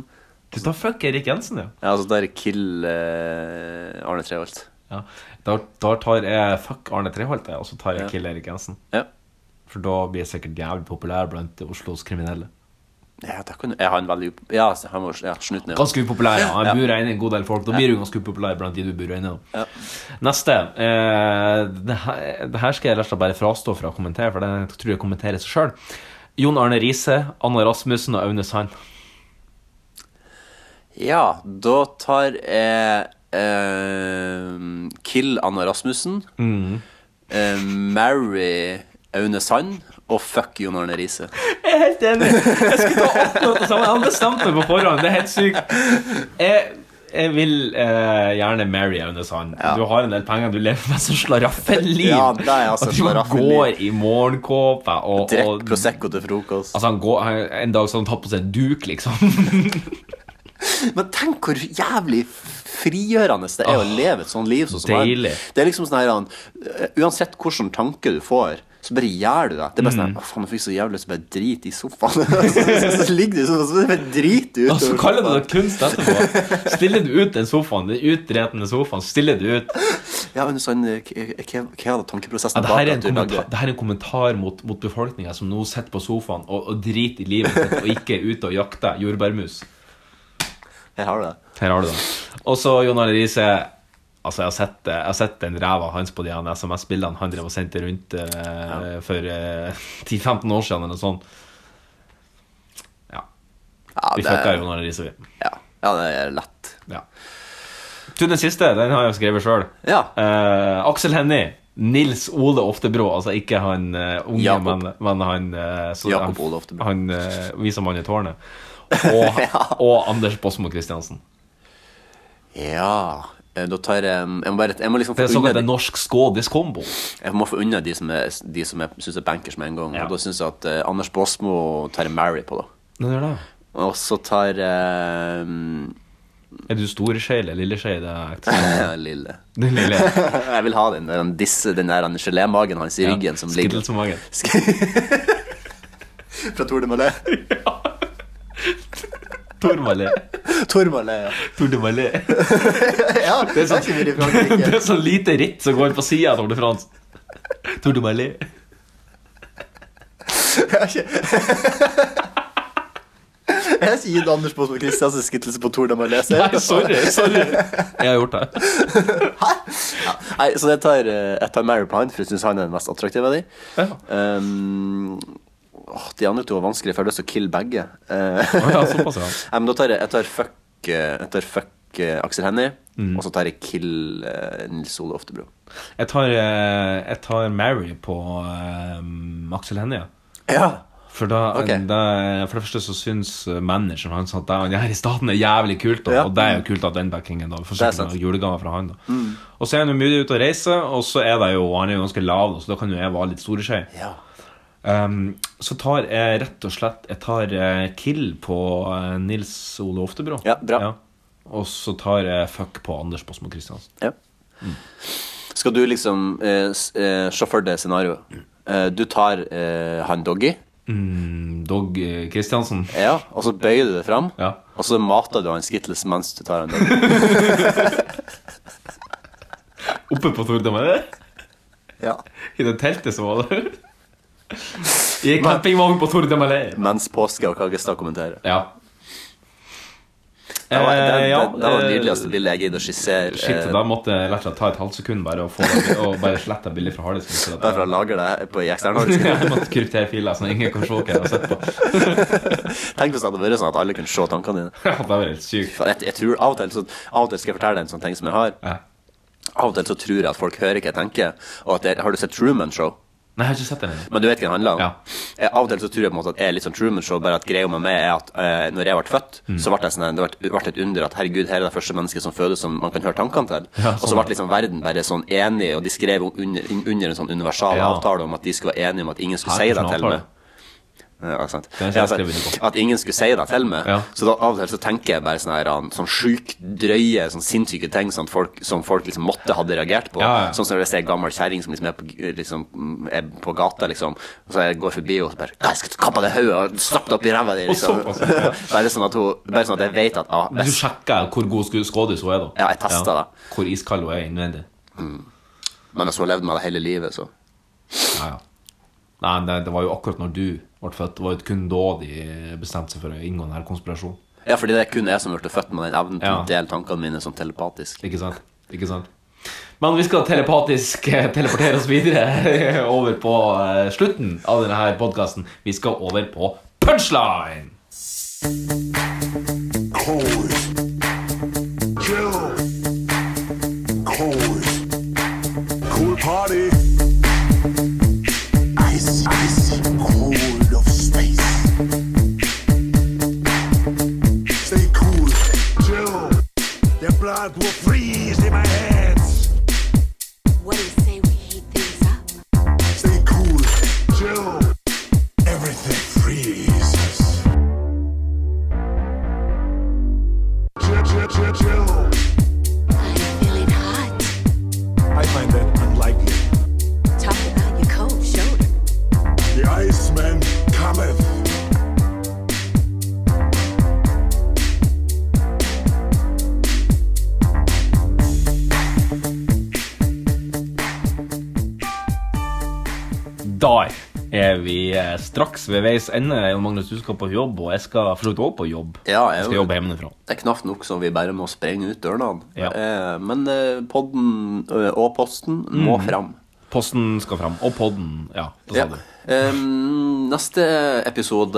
Speaker 2: Du tar fuck Erik Jensen, ja.
Speaker 3: Ja, og så tar jeg kill eh, Arne Treholt.
Speaker 2: ja. Da, da tar jeg fuck Arne Treholt, jeg, og så tar jeg kill Erik Jensen.
Speaker 3: Ja.
Speaker 2: For da blir jeg sikkert jævlig populær blant Oslos kriminelle.
Speaker 3: Ja, da kan du Jeg har en veldig Ja, så han må ja, snuten, ja.
Speaker 2: Ganske upopulær, ja.
Speaker 3: Ja.
Speaker 2: Jeg bor inne en god del folk. Da blir du ganske upopulær blant de du bor inne. da.
Speaker 3: Ja.
Speaker 2: Neste. Eh, det, her, det her skal jeg rett og slett bare frastå fra å kommentere, for det tror jeg kommenterer seg sjøl. Jon Arne Riise, Anna Rasmussen og Aune Sand.
Speaker 3: ja, da tar jeg eh, Kill Anna Rasmussen. eh, marry Aune Sand. Og fuck Jon Arne Riise.
Speaker 2: Jeg er helt enig. Jeg skulle ta akkurat det samme. Jeg hadde bestemt meg på forhånd. Det er helt sykt. Jeg, jeg vil eh, gjerne marry Aune Sand. Du har en del penger. Du lever med så slaraffenliv
Speaker 3: Ja, det er altså
Speaker 2: at du
Speaker 3: slaraffenliv.
Speaker 2: går i morgenkåpe og,
Speaker 3: Drikk
Speaker 2: og
Speaker 3: Prosecco til frokost.
Speaker 2: Altså han går, han- En dag så har han tatt på seg en duk, liksom.
Speaker 3: Men tenk hvor jævlig frigjørende det er å leve et sånt liv. Sånn som han.
Speaker 2: deilig.
Speaker 3: Det er liksom sånn her han, eh, Uansett hvilken tanke du får, så bare gjør du det. Det er bare sånn her, Å, faen, jeg fikk så jævlig lyst til å bare drite i sofaen. så, så, så ligger du sånn, og så bare driter du
Speaker 2: Og så
Speaker 3: utover
Speaker 2: kaller du
Speaker 3: sofaen.
Speaker 2: det kunst etterpå. Stiller du ut den sofaen, den utretende sofaen, stiller du ut
Speaker 3: Ja, men sånn, eh, k- eh, Hva hva var
Speaker 2: ja,
Speaker 3: tankeprosessen
Speaker 2: det, her
Speaker 3: bak
Speaker 2: er en
Speaker 3: at du
Speaker 2: kommentar,
Speaker 3: lagde
Speaker 2: det her er en kommentar mot, mot befolkninga som nå sitter på sofaen og, og driter i livet sitt og ikke er ute og jakter jordbærmus.
Speaker 3: Jeg har det.
Speaker 2: Her har du det. Og så Jon Arne Riise. Altså, jeg har, sett, det- jeg har sett den ræva hans på de her SMS-bildene han drev og sendte rundt eh, for eh, 10-15 år siden, eller noe sånt. Ja.
Speaker 3: Ja,
Speaker 2: Vi
Speaker 3: det
Speaker 2: fucka Jon Arne Riise, vi.
Speaker 3: ja, ja, det er lett.
Speaker 2: Ja. Du, den siste, den har jeg skrevet sjøl.
Speaker 3: Ja.
Speaker 2: Eh, Aksel Hennie. Nils Ole Oftebro, altså ikke han eh, unge,
Speaker 3: Jakob.
Speaker 2: men, men han eh, så-
Speaker 3: Jakob
Speaker 2: han-
Speaker 3: Ole Oftebro.
Speaker 2: Han eh, viser mannen i tårnet. Og, og Anders Båsmo Christiansen.
Speaker 3: Ja eh, Da tar jeg Jeg må, bare, jeg må liksom
Speaker 2: Det er
Speaker 3: få unna
Speaker 2: såkalt
Speaker 3: de-
Speaker 2: en norsk skådiskombo.
Speaker 3: Jeg må få unna de som jeg, de som jeg syns er bankers med en gang.
Speaker 2: Ja.
Speaker 3: Og da syns jeg at eh, Anders Båsmo tar jeg Mary på, da.
Speaker 2: Den gjør det.
Speaker 3: Og så tar jeg um,
Speaker 2: Er du storsjei eller lilleskje i det ekteskapet?
Speaker 3: Eh, Lille.
Speaker 2: Den lille
Speaker 3: Jeg vil ha den der, han disse, den der han gelémagen hans i ryggen som ligger
Speaker 2: Skittelsmagen.
Speaker 3: Fra Tordemalé.
Speaker 2: Tormalé.
Speaker 3: Tormalé, ja.
Speaker 2: Tordemalé.
Speaker 3: ja
Speaker 2: Det er sånn,
Speaker 3: ikke mye i Frankrike.
Speaker 2: det er sånn lite ritt som går på sida av Tour de France. Tordemalé.
Speaker 3: Jeg har ikke gitt Anders Båsmo Christiansens skittelse på Tordemalé.
Speaker 2: Nei, sorry. sorry Jeg har gjort det.
Speaker 3: Nei, så jeg tar, eh, jeg tar Mary Pine, for jeg syns han er den mest attraktive av de.
Speaker 2: Ja.
Speaker 3: Um, åh, de andre to var vanskelig, for jeg har lyst til å kille begge. Eh,
Speaker 2: Å ja, såpass, ja.
Speaker 3: Nei, men da tar jeg, jeg tar fuck, eh, jeg tar fuck eh, Aksel Hennie,
Speaker 2: Mm.
Speaker 3: og så tar jeg kill eh, Nils Ole Oftebro.
Speaker 2: Jeg tar, eh, jeg tar Mary på eh, Aksel Hennie.
Speaker 3: Ja.
Speaker 2: For, da,
Speaker 3: Ok.
Speaker 2: da, for det første så syns manageren hans at det han gjør i staten, er jævlig kult. Da.
Speaker 3: Ja.
Speaker 2: Og det er jo kult at den backingen da får
Speaker 3: Det er
Speaker 2: sikkert
Speaker 3: sant. Mm.
Speaker 2: noen julegaver fra han. Da. Og så er han jo mye ute og reiser, og så er det jo, han er jo ganske lav, da, så da kan jo jeg være litt storeskje.
Speaker 3: ja.
Speaker 2: Um, så tar jeg rett og slett Jeg tar eh, kill på eh, Nils Ole Oftebro.
Speaker 3: Ja, bra.
Speaker 2: Og så tar jeg fuck på Anders Båsmo Christiansen.
Speaker 3: Ja.
Speaker 2: Mm.
Speaker 3: Skal du liksom eh, s- eh, Se for deg scenarioet. Eh, du tar eh, han Doggy,
Speaker 2: Mm, Dog eh, Christiansen.
Speaker 3: ja, og så bøyer du det fram.
Speaker 2: Ja.
Speaker 3: Og så mater du han Skittles mens du tar han Doggy.
Speaker 2: Oppe på Tordemalé.
Speaker 3: Ja.
Speaker 2: I det teltet som var der. I en campingvogn på Tordemalé.
Speaker 3: Mens påske og kakestad kommenterer.
Speaker 2: Ja.
Speaker 3: Det var, det, det,
Speaker 2: Eh, ja,
Speaker 3: det var det
Speaker 2: eh,
Speaker 3: nydeligste bildet jeg gidder å skissere.
Speaker 2: Shit,
Speaker 3: eh,
Speaker 2: da måtte jeg lett og slett ta et halvt sekund bare og, få det, og bare slette bildet fra harddisken.
Speaker 3: Derfor jeg lager det på i eksternordisken.
Speaker 2: Jeg måtte kryptere filer, så ingen kan se hva jeg har sett på.
Speaker 3: Tenk hvis det hadde vært sånn at alle kunne se tankene dine.
Speaker 2: Ja, det var helt sykt.
Speaker 3: For Jeg, jeg tror av og, til, så, av og til skal jeg fortelle deg en sånn ting som jeg har.
Speaker 2: Ja.
Speaker 3: Av og til så tror jeg at folk hører hva jeg tenker. Og at jeg, har du sett Truman Show?
Speaker 2: Nei, jeg har ikke sett den ennå.
Speaker 3: Men du vet hva det handler om?
Speaker 2: Ja.
Speaker 3: Jeg, av og til så tror jeg på en måte at jeg er litt sånn Truman Show, bare at greia med meg er at eh, når jeg ble født,
Speaker 2: Mm.
Speaker 3: så ble jeg sånn, her- det ble, ble et under at herregud, her er det første mennesket som fødes som man kan høre tankene til.
Speaker 2: Ja,
Speaker 3: Og så
Speaker 2: sånn.
Speaker 3: ble liksom verden bare sånn enig, og de skrev om- under, under en sånn universal
Speaker 2: Ja.
Speaker 3: avtale om at de skulle være enige om at ingen skulle
Speaker 2: Her er
Speaker 3: si det
Speaker 2: hvordan
Speaker 3: til
Speaker 2: avtale.
Speaker 3: meg. Ja, sant.
Speaker 2: Den
Speaker 3: Ja,
Speaker 2: skal jeg
Speaker 3: sant.
Speaker 2: skrive under
Speaker 3: At ingen skulle si det til meg.
Speaker 2: Ja.
Speaker 3: Så da av og til så tenker jeg bare sånne, her, an- sånn sjukt drøye, sånn sinnssyke ting som folk, som folk liksom måtte hadde reagert på.
Speaker 2: Ja, ja.
Speaker 3: Sånn som når jeg ser en gammel kjerring som liksom er, på, g- liksom, mm, er på gata, liksom. Og så jeg går forbi og så bare «Nei, Jeg skal kappe av deg hodet og stappe det opp i ræva di! Liksom.
Speaker 2: såpass, ja.
Speaker 3: bare, sånn at hun, bare sånn at jeg vet at ah,
Speaker 2: Du
Speaker 3: hvis,
Speaker 2: sjekker hvor god sku- skådis hun er, da.
Speaker 3: Ja, jeg testet det.
Speaker 2: Hvor iskald hun er innvendig.
Speaker 3: Men hvis hun har levd med det hele livet, så
Speaker 2: Ja, ja. Nei, men det, det var jo akkurat når du ble født. Det var jo kun da de bestemte seg for å inngå denne konspirasjonen.
Speaker 3: Ja, fordi det er kun jeg som ble født med den evnen til
Speaker 2: Ja.
Speaker 3: å dele tankene mine sånn telepatisk.
Speaker 2: Ikke sant? Ikke sant? Men vi skal telepatisk eh, teleportere oss videre over på eh, slutten av denne her podkasten. Vi skal over på punchline!
Speaker 10: What do you say we heat things up? I'm feeling hot.
Speaker 8: I find that unlikely.
Speaker 10: Talk about your cold shoulder.
Speaker 8: The Iceman cometh.
Speaker 2: Der er vi eh, straks ved veis ende. Jon Magnus, du skal på jobb, og jeg skal for så vidt også på jobb.
Speaker 3: Ja,
Speaker 2: jeg
Speaker 3: jeg er
Speaker 2: skal
Speaker 3: jo-
Speaker 2: jobbe hjemmefra.
Speaker 3: Det er knapt nok som vi bare må sprenge ut dørene.
Speaker 2: Ja.
Speaker 3: Eh, men eh, podden eh, og posten
Speaker 2: Mm.
Speaker 3: må fram.
Speaker 2: Posten skal fram. Og podden. Ja, det sa
Speaker 3: Ja.
Speaker 2: du.
Speaker 3: Em, neste episode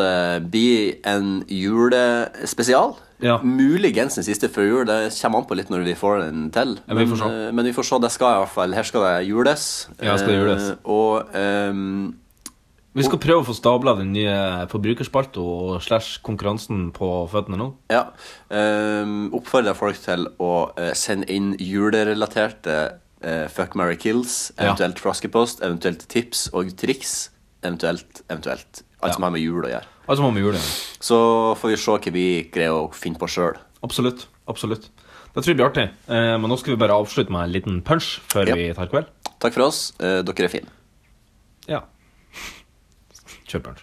Speaker 3: blir en julespesial.
Speaker 2: Ja.
Speaker 3: Muligens den siste før jul. Det kommer an på litt når vi får den til.
Speaker 2: Ja, vi får
Speaker 3: men,
Speaker 2: se.
Speaker 3: eh, men vi får se. Det skal i hvert fall Her skal det jules.
Speaker 2: Ja, skal det jules.
Speaker 3: Eh, og em,
Speaker 2: Vi skal prøve å få stabla den nye forbrukerspalta og slash konkurransen på føttene nå.
Speaker 3: ja, em, oppfordrer folk til å eh, sende inn julerelaterte eh, fuck, marry, kills,
Speaker 2: Ja.
Speaker 3: eventuelt froskepost, eventuelt tips og triks, eventuelt, eventuelt. Alt som har med jul å gjøre.
Speaker 2: Altså må vi gjøre det.
Speaker 3: Så får vi se hva vi greier å finne på sjøl.
Speaker 2: Absolutt. Absolutt. Det tror jeg blir artig. Eh, men nå skal vi bare avslutte med en liten punch før
Speaker 3: Ja.
Speaker 2: vi tar kveld.
Speaker 3: Takk for oss. Eh, dere er fine.
Speaker 2: Ja. Kjør punch.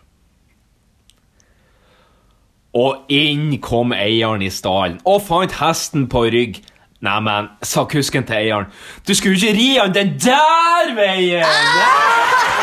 Speaker 2: Og inn kom eieren i stallen og fant hesten på rygg. Neimen, sa kusken til eieren, du skulle ikke ri han den der veien!